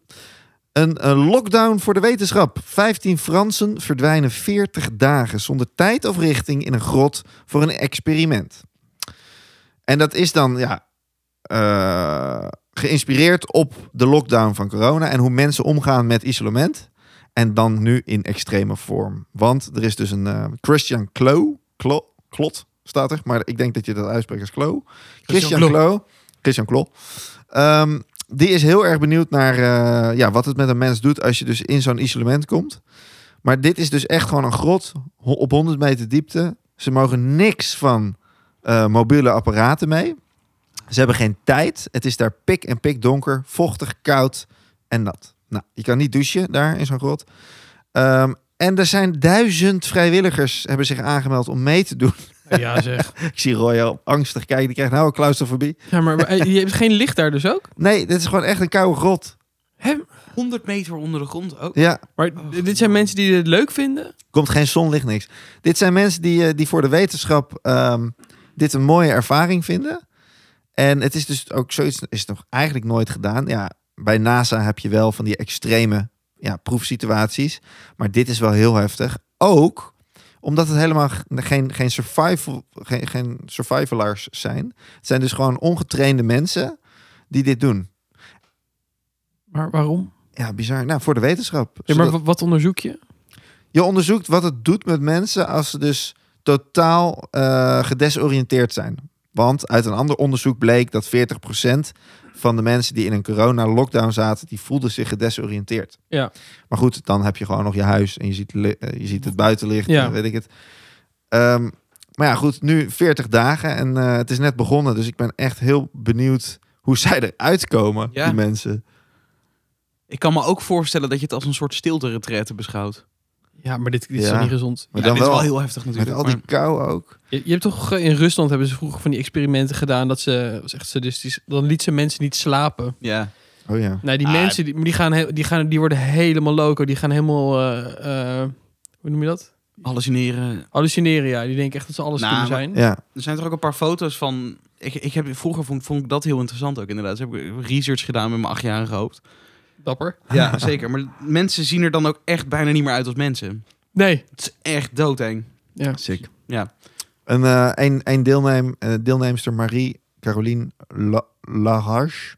S4: Een, eh, lockdown voor de wetenschap. 15 Fransen verdwijnen 40 dagen zonder tijd of richting in een grot voor een experiment. En dat is dan ja, eh, geïnspireerd op de lockdown van corona en hoe mensen omgaan met isolement. En dan nu in extreme vorm. Want er is dus een eh, Christian Klo, Klo, Klot staat er, maar ik denk dat je dat uitspreekt als Klo. Christian
S2: Klo.
S4: Klo. Christian Klo. Ehm, die is heel erg benieuwd naar eh, ja, wat het met een mens doet als je dus in zo'n isolement komt. Maar dit is dus echt gewoon een grot ho- op 100 meter diepte. Ze mogen niks van eh, mobiele apparaten mee. Ze hebben geen tijd. Het is daar pik en pik donker, vochtig, koud en nat. Nou, je kan niet douchen daar in zo'n grot. Ehm, en er zijn duizend vrijwilligers hebben zich aangemeld om mee te doen.
S2: Ja, zeg.
S4: Ik zie Roy al angstig kijken. Die krijgt nou een claustrofobie.
S2: Ja, maar maar, eh, je hebt geen licht daar dus ook?
S4: Nee, dit is gewoon echt een koude grot.
S1: 100 meter onder de grond ook.
S4: Ja,
S2: Maar d- dit zijn mensen die het leuk vinden?
S4: komt geen zonlicht, niks. Dit zijn mensen die, eh, die voor de wetenschap ehm, dit een mooie ervaring vinden. En het is dus ook zoiets, is nog eigenlijk nooit gedaan. Ja, bij NASA heb je wel van die extreme ja, proefsituaties. Maar dit is wel heel heftig. Ook omdat het helemaal g- geen, geen, survival, geen, geen survivalaars zijn. Het zijn dus gewoon ongetrainde mensen die dit doen.
S2: Maar waarom?
S4: Ja, bizar. Nou, voor de wetenschap.
S2: Ja, maar
S4: Zodat-
S2: wa- wat onderzoek je?
S4: Je onderzoekt wat het doet met mensen als ze dus totaal eh, gedesoriënteerd zijn. Want uit een ander onderzoek bleek dat 40% van de mensen die in een corona-lockdown zaten, die voelden zich gedesoriënteerd.
S2: Ja.
S4: Maar goed, dan heb je gewoon nog je huis en je ziet, li- eh, je ziet het buitenlicht
S2: Ja.
S4: en weet ik het. Ehm, maar ja, goed, nu 40 dagen en eh, het is net begonnen. Dus ik ben echt heel benieuwd hoe zij eruit komen,
S1: Ja.
S4: die mensen.
S1: Ik kan me ook voorstellen dat je het als een soort stilte-retraite beschouwt.
S2: Ja, maar dit, dit is
S4: Ja.
S2: toch niet gezond?
S4: Maar
S1: Ja,
S4: dan
S1: dit
S4: wel,
S1: is wel heel heftig
S4: met
S1: natuurlijk.
S4: al die
S1: maar-
S4: kou ook.
S2: Je, je hebt toch eh, in Rusland hebben ze vroeger van die experimenten gedaan dat ze, dat was echt sadistisch, dan liet ze mensen niet slapen.
S1: Ja.
S4: Oh ja.
S2: Nee, die
S1: Ah,
S2: mensen die, die, gaan, he- die, gaan, die worden helemaal loco. Die gaan helemaal, eh, eh, hoe noem je dat?
S1: Hallucineren.
S2: Hallucineren, ja. Die denken echt dat ze alles
S1: Nou,
S2: kunnen
S1: maar-
S2: zijn.
S4: Ja.
S1: Er zijn er ook een paar foto's van. Ik, ik heb, vroeger vond, vond ik dat heel interessant ook inderdaad. Dus heb ik research gedaan met mijn achtjarige hoofd.
S2: Dapper.
S1: Ja, zeker. Maar mensen zien er dan ook echt bijna niet meer uit als mensen.
S2: Nee.
S1: Het is echt doodeng.
S2: Ja.
S4: Sick.
S1: Ja.
S4: Een, eh, een, een deelnem, eh, deelnemster, Marie Caroline La- Laharche.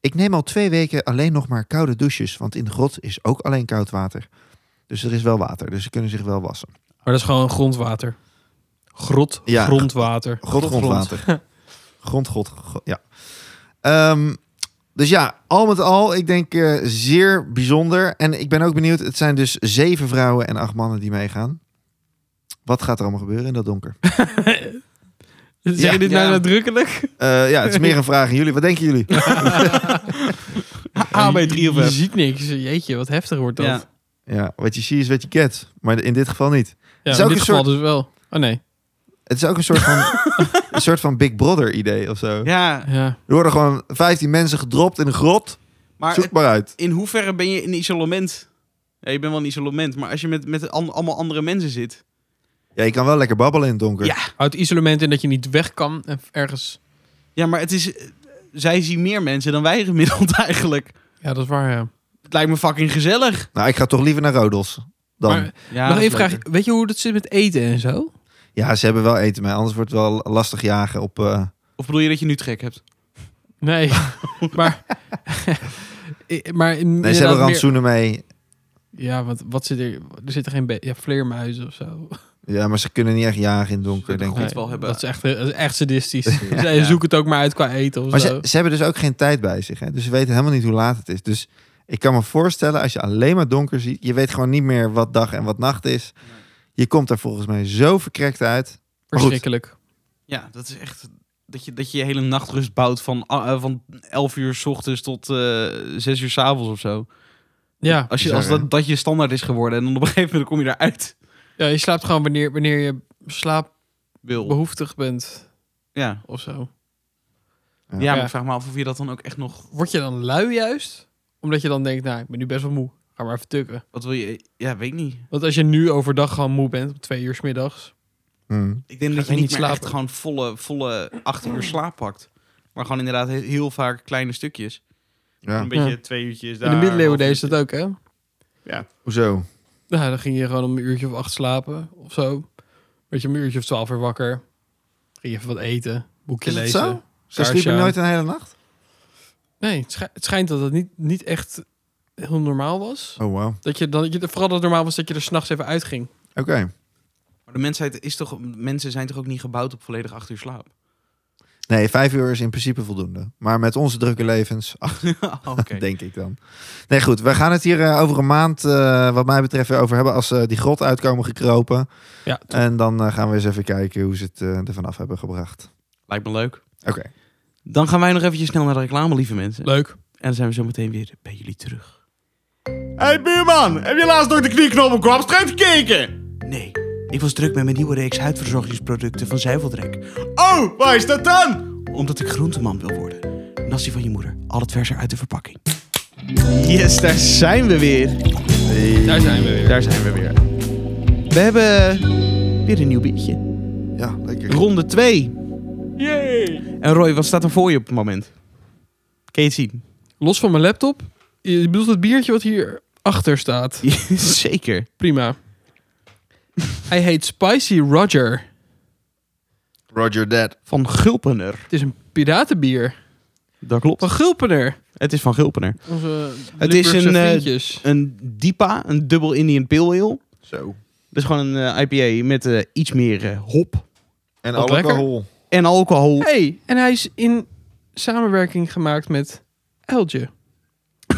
S4: Ik neem al twee weken alleen nog maar koude douches, want in de grot is ook alleen koud water. Dus er is wel water, dus ze kunnen zich wel wassen.
S2: Maar dat is gewoon grondwater. Grot,
S4: Ja.
S2: grondwater.
S4: Grot, grondwater. Grond, grond, gro- ja. Ehm, dus ja, al met al, ik denk eh, zeer bijzonder. En ik ben ook benieuwd, het zijn dus zeven vrouwen en acht mannen die meegaan. Wat gaat er allemaal gebeuren in dat donker?
S2: Zeg je
S4: Ja,
S2: dit nou
S1: ja.
S2: nadrukkelijk?
S4: Eh, ja, het is meer een vraag aan jullie. Wat denken jullie?
S1: AB3 of
S2: Je
S1: F.
S2: ziet niks. Jeetje, wat heftig wordt dat.
S1: Ja.
S2: Ja,
S4: Ja, what you see is what you get. Maar in dit geval niet.
S2: in
S4: ook
S2: dit
S4: een
S2: geval
S4: soort-
S2: dus wel. Oh nee.
S4: Het is ook een soort van, een soort van Big Brother idee of zo.
S1: Ja,
S2: Ja.
S4: Er worden gewoon 15 mensen gedropt in een grot.
S1: maar
S4: Zoek
S1: het-
S4: maar uit.
S1: in hoeverre ben je in isolement? Ja, je bent wel in isolement, maar als je met, met an- allemaal andere mensen zit.
S4: Ja, je kan wel lekker babbelen in het donker.
S1: Ja.
S2: Houdt isolement in dat je niet weg kan en ergens.
S1: Ja, maar het is. eh, Zij zien meer mensen dan wij gemiddeld eigenlijk.
S2: Ja, dat is waar. Ja.
S1: Het lijkt me fucking gezellig.
S4: Nou, ik ga toch liever naar Rodels. Dan.
S2: Maar
S1: Ja,
S2: nog even vraag. Weet je hoe dat zit met eten en zo?
S4: Ja, ze hebben wel eten mee. Anders wordt het wel lastig jagen op... eh,
S1: Of bedoel je dat je nu trek hebt?
S2: Nee. maar. I- maar in-
S4: Nee,
S2: inderdaad
S4: ze hebben
S2: meer-
S4: rantsoenen mee.
S2: Ja, want wat zit er? Er zitten geen be- ja, vleermuizen of zo.
S4: Ja, maar ze kunnen niet echt jagen in het donker, denk ik.
S1: Moet het wel hebben.
S2: Dat is echt, dat is echt sadistisch. Zij zoeken het ook maar uit qua eten of
S4: Maar
S2: zo.
S4: ze, ze hebben dus ook geen tijd bij zich. Hè? Dus ze weten helemaal niet hoe laat het is. Dus ik kan me voorstellen, als je alleen maar donker ziet... je weet gewoon niet meer wat dag en wat nacht is. Je komt er volgens mij zo verkrekt uit. goed.
S2: Verschrikkelijk.
S1: Ja, dat is echt. dat je, dat je je hele nachtrust bouut van, ah, eh, van 11 uur s ochtends tot eh 6 uur s avonds of zo.
S2: Ja.
S1: Als, je, als
S2: Bizar,
S1: dat, dat je standaard is geworden en dan op een gegeven moment kom je eruit.
S2: Ja, je slaapt gewoon wanneer, wanneer je
S1: Wil.
S2: slaapbehoeftig bent
S1: Ja.
S2: of zo.
S1: Ja. maar ik vraag me af of je dat dan ook echt nog...
S2: Word je dan lui juist? Omdat je dan denkt, nou, ik ben nu best wel moe. Ga maar even tukken.
S1: Wat wil je... Ja, weet ik niet.
S2: Want als je nu overdag gewoon moe bent, om twee uur 's middags.
S1: Ik denk
S2: Ga
S1: dat je
S2: je
S1: niet
S2: niet
S1: meer echt
S2: slapen?
S1: gewoon volle, volle acht uur slaap pakt. Maar gewoon inderdaad he- heel vaak kleine stukjes. Een beetje
S2: Ja.
S1: twee uurtjes daar.
S2: In de middeleeuwen
S1: half
S2: deed ze dat ook, hè?
S4: Hoezo?
S2: Nou, dan ging je gewoon om een uurtje of acht slapen of zo. Weet je, om een uurtje of twaalf weer wakker. Ging je even wat eten, boekje
S4: Is het
S2: lezen.
S4: zo? Ze
S2: kaarsje
S4: sliepen
S2: aan.
S4: nooit een hele nacht?
S2: Nee, het, schij- het schijnt dat het niet, niet echt heel normaal was.
S4: Oh, wow.
S2: Dat je dan, dat je, vooral dat het normaal was dat je er s'nachts even uitging.
S4: Oké.
S1: Maar de mensheid is toch... Mensen zijn toch ook niet gebouwd op volledig acht uur slaap?
S4: Nee, vijf uur is in principe voldoende. Maar met onze drukke levens, ach,
S1: Oké.
S4: denk ik dan. Nee, goed. We gaan het hier eh, over een maand, eh, wat mij betreft, weer over hebben. Als ze die grot uitkomen gekropen.
S2: Ja, top.
S4: En dan eh, gaan we eens even kijken hoe ze het eh ervan af hebben gebracht.
S1: Lijkt me leuk.
S4: Oké.
S1: Dan gaan wij nog eventjes snel naar de reclame, lieve mensen.
S2: leuk.
S1: En dan zijn we zo meteen weer bij jullie terug.
S12: Hey buurman, heb je laatst nog de knieknop op kopstrijd gekeken?
S1: Nee, ik was druk met mijn nieuwe reeks huidverzorgingsproducten van Zuiveldrek.
S12: Oh, waar is dat dan?
S1: Omdat ik groenteman wil worden. Nastie van je moeder. Al het verser uit de verpakking. Yes, daar zijn we weer.
S2: Daar zijn we weer.
S1: Daar zijn we weer. We hebben weer een nieuw biertje.
S4: Ja, lekker.
S1: Ronde 2.
S2: Yay!
S1: En Roy, wat staat er voor je op het moment? Kun je het zien?
S2: Los van mijn laptop. Je bedoelt het biertje wat hier achter staat.
S1: Zeker.
S2: Prima. Hij heet Spicy Roger.
S4: Roger that.
S1: Van Gulpener.
S2: Het is een piratenbier.
S1: Dat klopt.
S2: Van Gulpener.
S1: Het is van Gulpener.
S2: Onze
S1: Het is
S2: Limburgse
S1: een, eh,
S2: vriendjes.
S1: Een DIPA, een dubbel Indian Pale Ale.
S4: Zo.
S1: Dat is gewoon een eh, IPA met eh, iets meer eh, hop
S4: En
S2: Wat
S4: alcohol.
S1: en alcohol.
S2: hey, en hij is in samenwerking gemaakt met Uiltje.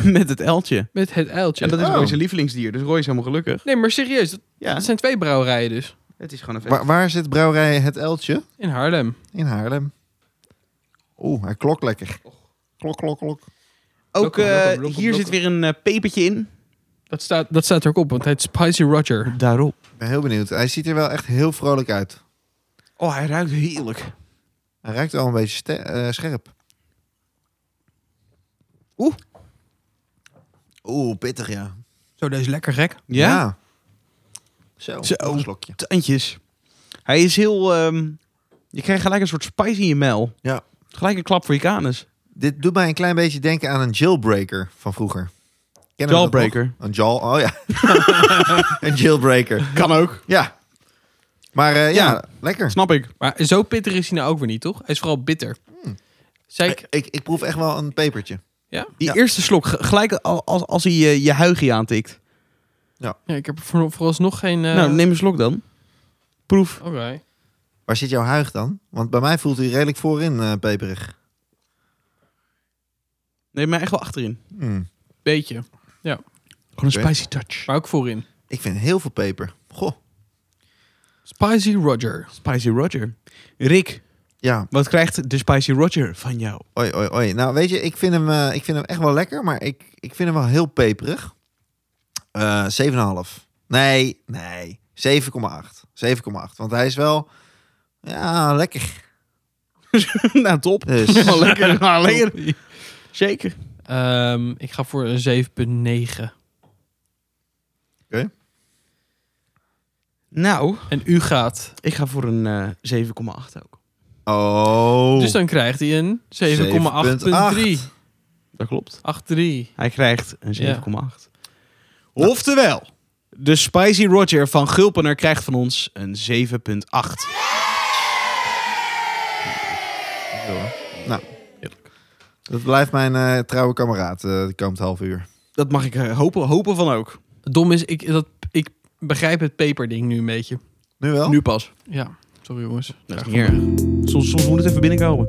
S1: Met het eltje.
S2: Met het Uiltje.
S1: En dat is
S4: Oh.
S1: Roy zijn lievelingsdier, dus Roy is helemaal gelukkig.
S2: Nee, maar serieus. Dat,
S1: Ja,
S2: dat zijn twee brouwerijen dus.
S1: het is gewoon een feest.
S4: Waar, waar zit brouwerij Het Eltje?
S2: In Haarlem.
S4: In Haarlem. Oeh, hij klokt lekker. Klok, klok, klok.
S1: Ook
S2: Blokken,
S1: eh,
S2: blokken, blokken,
S1: hier zit
S2: blokken.
S1: weer een eh, pepertje in.
S2: Dat staat, dat staat er ook op, want het heet Spicy Roger.
S1: Daarop.
S4: Ik ben heel benieuwd. Hij ziet er wel echt heel vrolijk uit.
S1: Oh, hij ruikt heerlijk.
S4: Hij ruikt wel een beetje ste- eh, scherp.
S1: Oeh.
S4: Oeh, pittig, ja.
S2: Zo, deze is lekker gek.
S1: Ja?
S4: Zo,
S1: Zo.
S4: nog een slokje.
S1: Tandjes. Hij is heel... ehm, je krijgt gelijk een soort spice in je mel.
S4: Ja.
S1: Gelijk een klap voor je kanus.
S4: Dit doet mij een klein beetje denken aan een jailbreaker van vroeger. Kennen we dat
S1: Jawbreaker.
S4: nog? Een jail... Oh ja. een jailbreaker.
S1: Kan ook.
S4: Ja. Maar eh, ja,
S1: Ja.
S4: lekker.
S1: Snap ik.
S2: Maar zo pittig is hij nou ook weer niet, toch? Hij is vooral bitter.
S1: Hmm.
S2: Zei ik,
S4: Ik, ik, ik proef echt wel een pepertje.
S2: ja?
S1: Eh, Die
S4: Ja.
S1: eerste slok, ge- gelijk al- als, als hij je, je huigje aantikt.
S2: ja, ik heb er voor, vooralsnog geen... eh,
S1: Nou, neem een slok dan. Proef.
S2: Oké.
S4: Waar zit jouw huig dan? Want bij mij voelt hij redelijk voorin eh, peperig.
S1: Neem maar echt wel achterin.
S4: Hmm.
S2: Beetje.
S1: Gewoon
S4: Oké.
S1: spicy touch.
S2: Maar ook voorin.
S4: Ik vind heel veel peper. Goh.
S2: Spicy Roger.
S1: Spicy Roger. Rick,
S4: Ja,
S1: wat krijgt de Spicy Roger van jou?
S4: Oi, oi, oi. Nou, weet je, ik vind hem, eh, ik vind hem echt wel lekker, maar ik, ik vind hem wel heel peperig. Eh 7,5. Nee, nee. 7,8. 7,8. Want hij is wel, ja, lekker.
S1: nou, top.
S4: Dus,
S1: Wel lekker, wel lekker. Zeker.
S2: Ehm, ik ga voor een 7,9.
S1: Nou,
S2: En u gaat.
S1: ik ga voor een eh, 7,8 ook.
S4: oh.
S2: Dus dan krijgt hij een 7,8,3.
S4: 7,8.
S1: Dat klopt.
S2: 8,3.
S1: Hij krijgt een 7,8.
S2: Ja.
S1: Oftewel, de Spicy Roger van Gulpener krijgt van ons een 7,8.
S4: Nou, Dat blijft mijn eh, trouwe kameraad eh, de komend half uur.
S1: Dat mag ik eh, hopen, hopen van ook.
S2: Het dom is, ik, dat, ik begrijp het peperding nu een beetje.
S4: Nu wel?
S1: Nu pas.
S2: Ja, sorry jongens.
S1: Dat is niet erg. Soms, soms moet het even binnenkomen.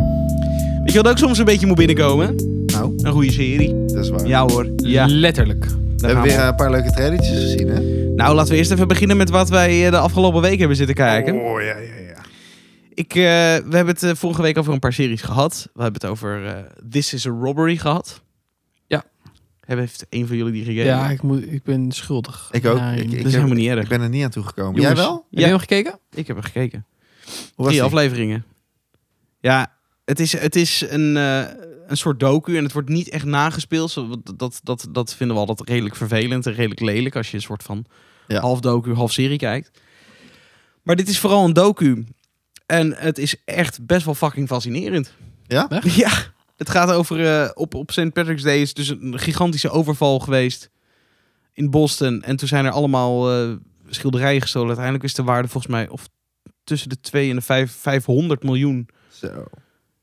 S1: Weet je wat ook soms een beetje moet binnenkomen?
S4: Nou,
S1: Een goede serie.
S4: dat is waar.
S1: Ja hoor. Ja.
S2: Mm. Letterlijk.
S4: we
S1: Daar
S4: hebben
S1: gaan
S4: weer
S1: we.
S4: eh, een paar leuke trailertjes gezien, hè?
S1: Nou, laten we eerst even beginnen met wat wij eh, de afgelopen week hebben zitten kijken.
S4: Oh, ja, ja, ja.
S1: Ik, eh, we hebben het eh, vorige week over een paar series gehad. We hebben het over eh, This is a Robbery gehad.
S2: Ja.
S1: Hebben heeft een van jullie die gekeken?
S2: Ja, ik, moet, ik ben schuldig.
S4: Ik ook.
S2: Ja,
S4: Ik, ik,
S1: dat
S4: ik
S1: is
S4: heb-
S1: helemaal niet erg.
S4: ik ben er niet aan toegekomen.
S1: Jongens,
S4: Jij wel?
S2: Heb je nog gekeken?
S1: Ik heb er gekeken.
S4: was
S1: Drie
S4: die?
S1: afleveringen. Ja, het is, het is een, eh, een soort docu en het wordt niet echt nagespeeld. Zo, want Dat, dat, dat vinden we altijd redelijk vervelend en redelijk lelijk als je een soort van
S4: Ja.
S1: half docu, half serie kijkt. Maar dit is vooral een docu. En het is echt best wel fucking fascinerend.
S4: Ja?
S1: Ja, het gaat over eh, op, op St. Patrick's Day is dus een gigantische overval geweest in Boston. En toen zijn er allemaal eh, schilderijen gestolen. Uiteindelijk is de waarde volgens mij of tussen de 2 en de 5, 500 miljoen.
S4: Zo.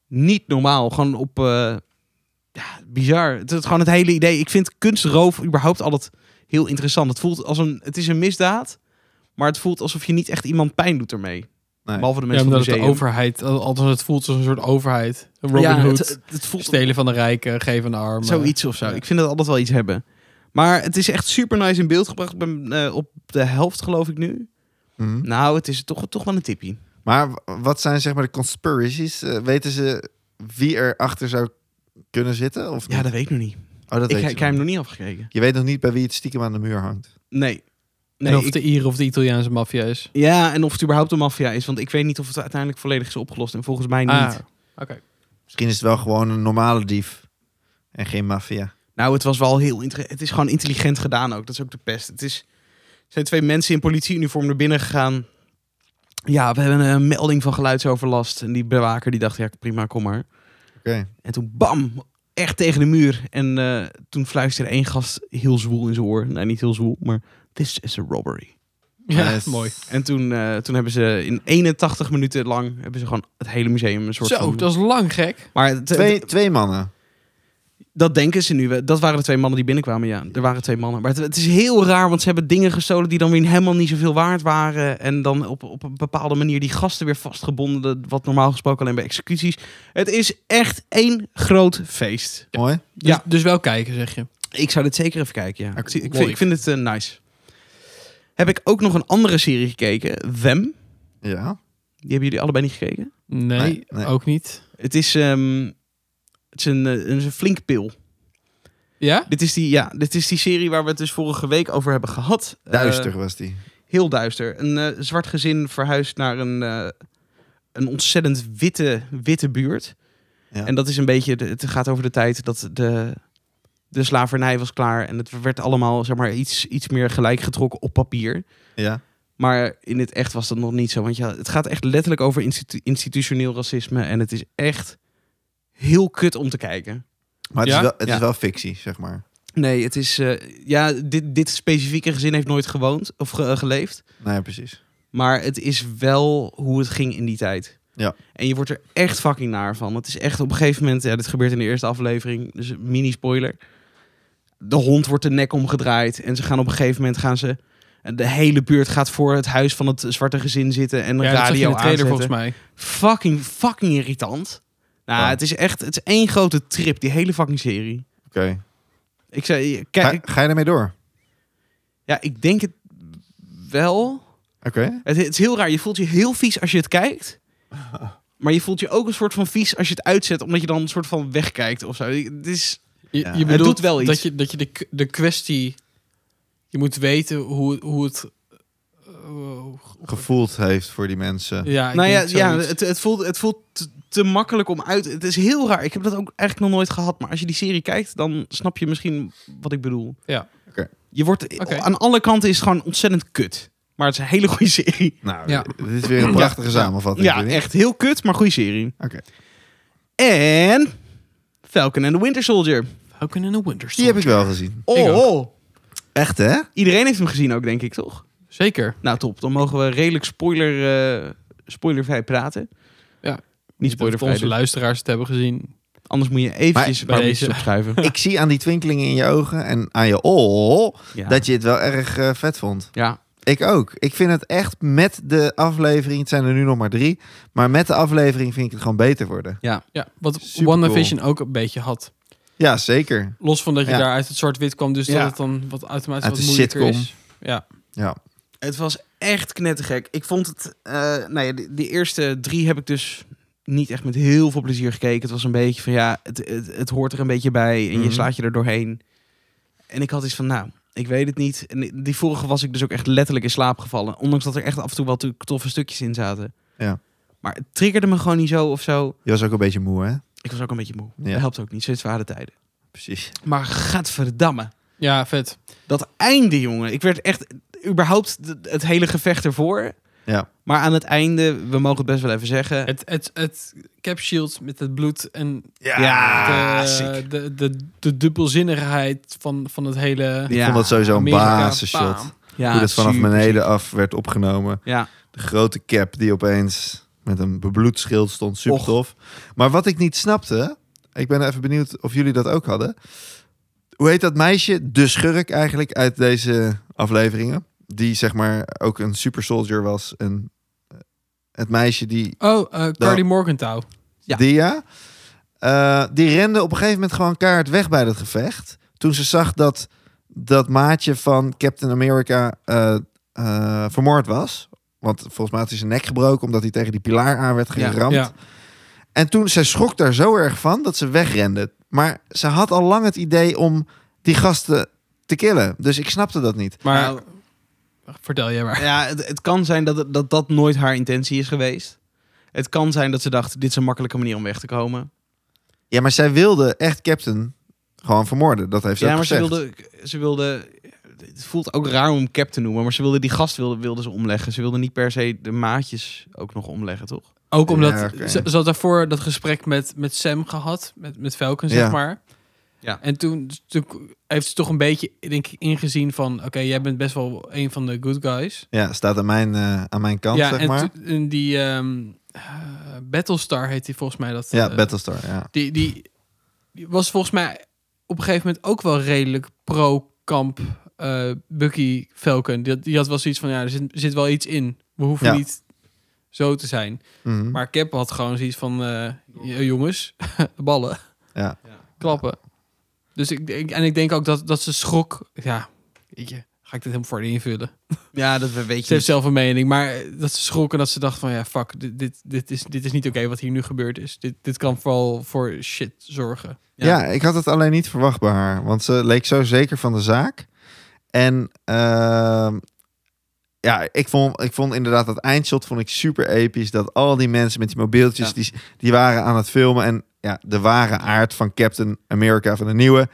S1: Niet normaal. Gewoon op. eh, ja, bizar. Het is gewoon het hele idee. Ik vind kunstroof überhaupt altijd heel interessant. Het voelt als een. Het is een misdaad. Maar het voelt alsof je niet echt iemand pijn doet ermee.
S4: Nee.
S1: Behalve de
S2: Ja,
S1: mensen van
S2: omdat
S1: het
S2: het de
S1: museum.
S2: overheid, al- althans het voelt als een soort overheid. Een Robin
S1: Ja,
S2: Hood,
S1: het- het voelt-
S2: stelen van de rijken, geven aan de armen.
S1: Zoiets of zo. Ik vind dat altijd wel iets hebben. Maar het is echt super nice in beeld gebracht. Ik ben eh, op de helft, geloof ik nu.
S4: Mhm.
S1: Nou, het is toch, toch wel een tippie.
S4: Maar w- wat zijn zeg maar de conspiracies? Eh, weten ze wie erachter zou kunnen zitten? Of
S1: Ja,
S4: niet?
S1: dat weet ik nog niet.
S4: Oh, dat
S1: ik,
S4: weet
S1: ik
S4: je
S1: heb hem
S4: nog.
S1: nog niet afgekeken.
S4: Je weet nog niet bij wie het stiekem aan de muur hangt.
S1: Nee.
S2: en
S1: nee
S2: of
S1: ik-
S2: de Ieren of de Italiaanse maffia is.
S1: Ja, en of het überhaupt een maffia is. Want ik weet niet of het uiteindelijk volledig is opgelost. En volgens mij niet.
S2: Ah, oké.
S4: Misschien is het wel gewoon een normale dief. En geen maffia.
S1: Nou, het was wel heel... inter- Het is gewoon intelligent gedaan ook. Dat is ook de pest. Het is... Er zijn twee mensen in politieuniform naar binnen gegaan. Ja, we hebben een melding van geluidsoverlast. En die bewaker die dacht, ja prima, kom maar.
S4: Oké.
S1: En toen bam, echt tegen de muur. En eh, toen fluisterde één gast heel zwoel in zijn oor. Nou, niet heel zwoel, maar this is a robbery.
S2: Ja,
S4: Nice.
S2: mooi.
S1: En toen, eh, toen hebben ze in 81 minuten lang hebben ze gewoon het hele museum een soort
S2: Zo,
S1: van...
S2: dat is lang gek.
S1: Maar het-
S4: Twee, twee mannen.
S1: dat denken ze nu. Dat waren de twee mannen die binnenkwamen. Ja, er waren twee mannen. Maar het, het is heel raar, want ze hebben dingen gestolen die dan weer helemaal niet zoveel waard waren. En dan op, op een bepaalde manier die gasten weer vastgebonden. Wat normaal gesproken alleen bij executies. Het is echt één groot feest.
S4: Mooi.
S2: Dus,
S1: Ja.
S2: dus wel kijken, zeg je.
S1: Ik zou dit zeker even kijken, ja. ik, zie- ik,
S2: mooi.
S1: vind, ik vind het eh, nice. Heb ik ook nog een andere serie gekeken, Them.
S4: Ja.
S1: Die hebben jullie allebei niet gekeken.
S2: Nee,
S4: Nee, nee.
S2: ook niet.
S1: Het is, ehm, het is een, eh, het is een flink pil.
S2: Ja?
S1: Dit is, die, ja, dit is die serie waar we het dus vorige week over hebben gehad.
S4: Duister
S1: Eh,
S4: was die.
S1: heel duister. Een eh, zwart gezin verhuist naar een, eh, een ontzettend witte, witte buurt.
S4: Ja.
S1: En dat is een beetje, de- het gaat over de tijd dat de, de slavernij was klaar. En het werd allemaal zeg maar, iets, iets meer gelijk getrokken op papier.
S4: Ja.
S1: Maar in het echt was dat nog niet zo. Want ja, het gaat echt letterlijk over institu- institutioneel racisme. En het is echt heel kut om te kijken.
S4: Maar het,
S2: Ja?
S4: is, wel, het
S1: Ja.
S4: is wel fictie, zeg maar.
S1: Nee, het is. eh, ja, dit, dit specifieke gezin heeft nooit gewoond of ge- eh, geleefd.
S4: Nou ja, precies.
S1: Maar het is wel hoe het ging in die tijd.
S4: Ja.
S1: En je wordt er echt fucking naar van. Het is echt op een gegeven moment. Ja, dit gebeurt in de eerste aflevering. Dus een mini-spoiler. De hond wordt de nek omgedraaid. En ze gaan op een gegeven moment gaan ze. De hele buurt gaat voor het huis van het zwarte gezin zitten. En een
S2: Ja, dat zag je in
S1: radio
S2: de trailer
S1: aanzetten.
S2: volgens mij.
S1: Fucking, fucking irritant. Nou,
S4: Ja.
S1: het is echt. Het is één grote trip, die hele fucking serie.
S4: Oké.
S1: Ik zei,
S4: Ga,
S1: kijk,
S4: ga je ermee door?
S1: Ja, ik denk het wel.
S4: Oké.
S1: Het, het is heel raar. Je voelt je heel vies als je het kijkt. Maar je voelt je ook een soort van vies als je het uitzet, omdat je dan een soort van wegkijkt of zo. Het is,
S2: Je,
S4: Ja.
S2: je
S1: Het
S2: bedoelt
S1: doet wel iets.
S2: Dat je, dat je de, k- de kwestie... Je moet weten hoe, hoe het... eh,
S4: Gevoeld heeft voor die mensen.
S2: ja, ik
S1: nou ja,
S2: denk
S1: ja
S2: zoiets.
S1: het, het voelt, het voelt te, te makkelijk om uit. Het is heel raar. Ik heb dat ook eigenlijk nog nooit gehad. Maar als je die serie kijkt, dan snap je misschien wat ik bedoel.
S2: Ja.
S4: Oké.
S1: Je wordt,
S2: Oké.
S1: Aan alle kanten is het gewoon ontzettend kut. Maar het is een hele goede serie.
S4: Nou,
S2: Ja.
S4: dit is weer een prachtige samenvatting.
S1: Ja,
S4: vind ik.
S1: echt heel kut, maar goede serie.
S4: Oké.
S1: En Falcon and the Winter Soldier.
S2: Falcon and the Winter
S4: Die
S2: Soldier.
S4: heb ik wel gezien.
S1: Oh,
S2: Ik
S4: Echt, hè?
S1: iedereen heeft hem gezien ook, denk ik, toch?
S2: Zeker.
S1: Nou, top. Dan mogen we redelijk spoiler, eh, spoilervrij praten.
S2: Ja.
S1: Niet
S2: Of
S1: spoilervrij.
S2: onze
S1: dus.
S2: luisteraars het hebben gezien.
S1: Anders moet je eventjes een
S2: bij
S1: paar
S2: deze-
S1: minuutjes opschuiven.
S4: Ik zie aan die twinkelingen in je ogen en aan je oor
S1: ja.
S4: dat je het wel erg eh, vet vond.
S1: ja.
S4: Ik ook. Ik vind het echt met de aflevering, het zijn er nu nog maar drie, maar met de aflevering vind ik het gewoon beter worden.
S2: Ja, wat
S4: Supercool.
S2: WandaVision ook een beetje had.
S4: Ja, zeker.
S2: Los van dat je
S4: Ja.
S2: daar uit het zwart-wit kwam, dus
S1: Ja.
S2: dat het dan wat automatisch
S4: Uit
S2: wat
S4: de
S2: moeilijker
S4: sitcom.
S2: is. Ja.
S4: Ja.
S1: Het was echt knettergek. Ik vond het... eh nou ja, de, de eerste drie heb ik dus niet echt met heel veel plezier gekeken. Het was een beetje van ja, het, het, het hoort er een beetje bij. En je
S4: Mhm.
S1: slaat je er doorheen. En ik had iets van nou, ik weet het niet. En die vorige was ik dus ook echt letterlijk in slaap gevallen. Ondanks dat er echt af en toe wel to- toffe stukjes in zaten.
S4: Ja.
S1: Maar het triggerde me gewoon niet zo of zo.
S4: Je was ook een beetje moe, hè?
S1: Ik was ook een beetje moe.
S4: Ja.
S1: Dat helpt ook niet, zoiets waren de tijden.
S4: Precies.
S1: Maar gadverdamme.
S2: Ja, vet.
S1: Dat einde, jongen. Ik werd echt überhaupt de- het hele gevecht ervoor.
S4: Ja.
S1: Maar aan het einde, we mogen het best wel even zeggen.
S2: Het, het, het cap shield met het bloed en
S1: Ja,
S2: de,
S1: Ah, sick.
S2: de, de, de dubbelzinnigheid van, van het hele.
S4: Ik vond dat sowieso een
S2: Amerika,
S4: basisshot.
S2: bam.
S1: Ja,
S4: Hoe dat vanaf
S1: Ah, super
S4: beneden af werd opgenomen.
S1: Ja.
S4: De grote cap die opeens met een bebloed schild stond. Super
S1: Och.
S4: tof. Maar wat ik niet snapte... Ik ben even benieuwd of jullie dat ook hadden. Hoe heet dat meisje? De schurk eigenlijk uit deze afleveringen. Die zeg maar ook een super soldier was. En eh, het meisje die...
S2: Oh, eh Carly
S4: Nou.
S2: Morgenthau.
S1: Ja.
S4: Die, ja. Eh, die rende op een gegeven moment gewoon kaart weg bij dat gevecht. Toen ze zag dat dat maatje van Captain America eh, eh, vermoord was. Want volgens mij had hij zijn nek gebroken omdat hij tegen die pilaar aan werd
S1: Ja,
S4: geramd.
S2: ja.
S4: En toen, zij schrok daar zo erg van dat ze wegrende. Maar ze had al lang het idee om die gasten te killen. Dus ik snapte dat niet.
S2: Maar
S1: Nou,
S2: vertel jij maar.
S1: Ja, het, het kan zijn dat, het- dat dat nooit haar intentie is geweest. Het kan zijn dat ze dacht, dit is een makkelijke manier om weg te komen.
S4: Ja, maar zij wilde echt Captain gewoon vermoorden. Dat heeft ze
S1: ja,
S4: ook
S1: maar ze
S4: gezegd.
S1: wilde, ze wilde... Het voelt ook raar om cap te noemen, maar ze wilde die gast wilde, wilde ze omleggen. Ze wilde niet per se de maatjes ook nog omleggen, toch?
S2: Ook omdat
S4: Ja, oké.
S2: ze, ze had daarvoor dat gesprek met, met Sam gehad, met, met Falcon,
S4: Ja.
S2: zeg maar.
S1: Ja.
S2: En toen, toen heeft ze toch een beetje denk ik, ingezien van... oké, jij bent best wel een van de good guys.
S4: Ja, staat aan mijn, eh, aan mijn kant,
S2: ja,
S4: zeg
S2: en,
S4: maar.
S2: toen- en die ehm, eh, Battlestar heet die volgens mij dat.
S4: Ja,
S2: eh,
S4: Battlestar, ja.
S2: Die, die, die was volgens mij op een gegeven moment ook wel redelijk pro-kamp eh, Bucky Falcon. Die, had- die had wel zoiets van, ja, er zit, zit wel iets in. We hoeven
S4: Ja.
S2: niet zo te zijn.
S4: Mhm.
S2: Maar Cap had gewoon zoiets van, eh, "J- jongens, ballen,
S4: Ja.
S2: klappen. Dus ik, denk- en ik denk ook dat, dat ze schrok. Ja, weet je, ga ik dit helemaal voor je invullen?
S1: Ja, dat we- weet
S2: Ze
S1: je
S2: heeft
S1: niet.
S2: zelf een mening, maar eh, dat ze schrok en dat ze dacht van ja, fuck, dit, dit, dit, is, dit is niet oké wat hier nu gebeurd is. Dit, dit kan vooral voor shit zorgen.
S4: Ja. ik had het alleen niet verwacht bij haar. Want ze leek zo zeker van de zaak. En ehm, ja, ik vond, ik vond inderdaad dat eindshot vond ik super episch. Dat al die mensen met die mobieltjes,
S1: Ja.
S4: die, die waren aan het filmen. En ja, de ware aard van Captain America van de nieuwe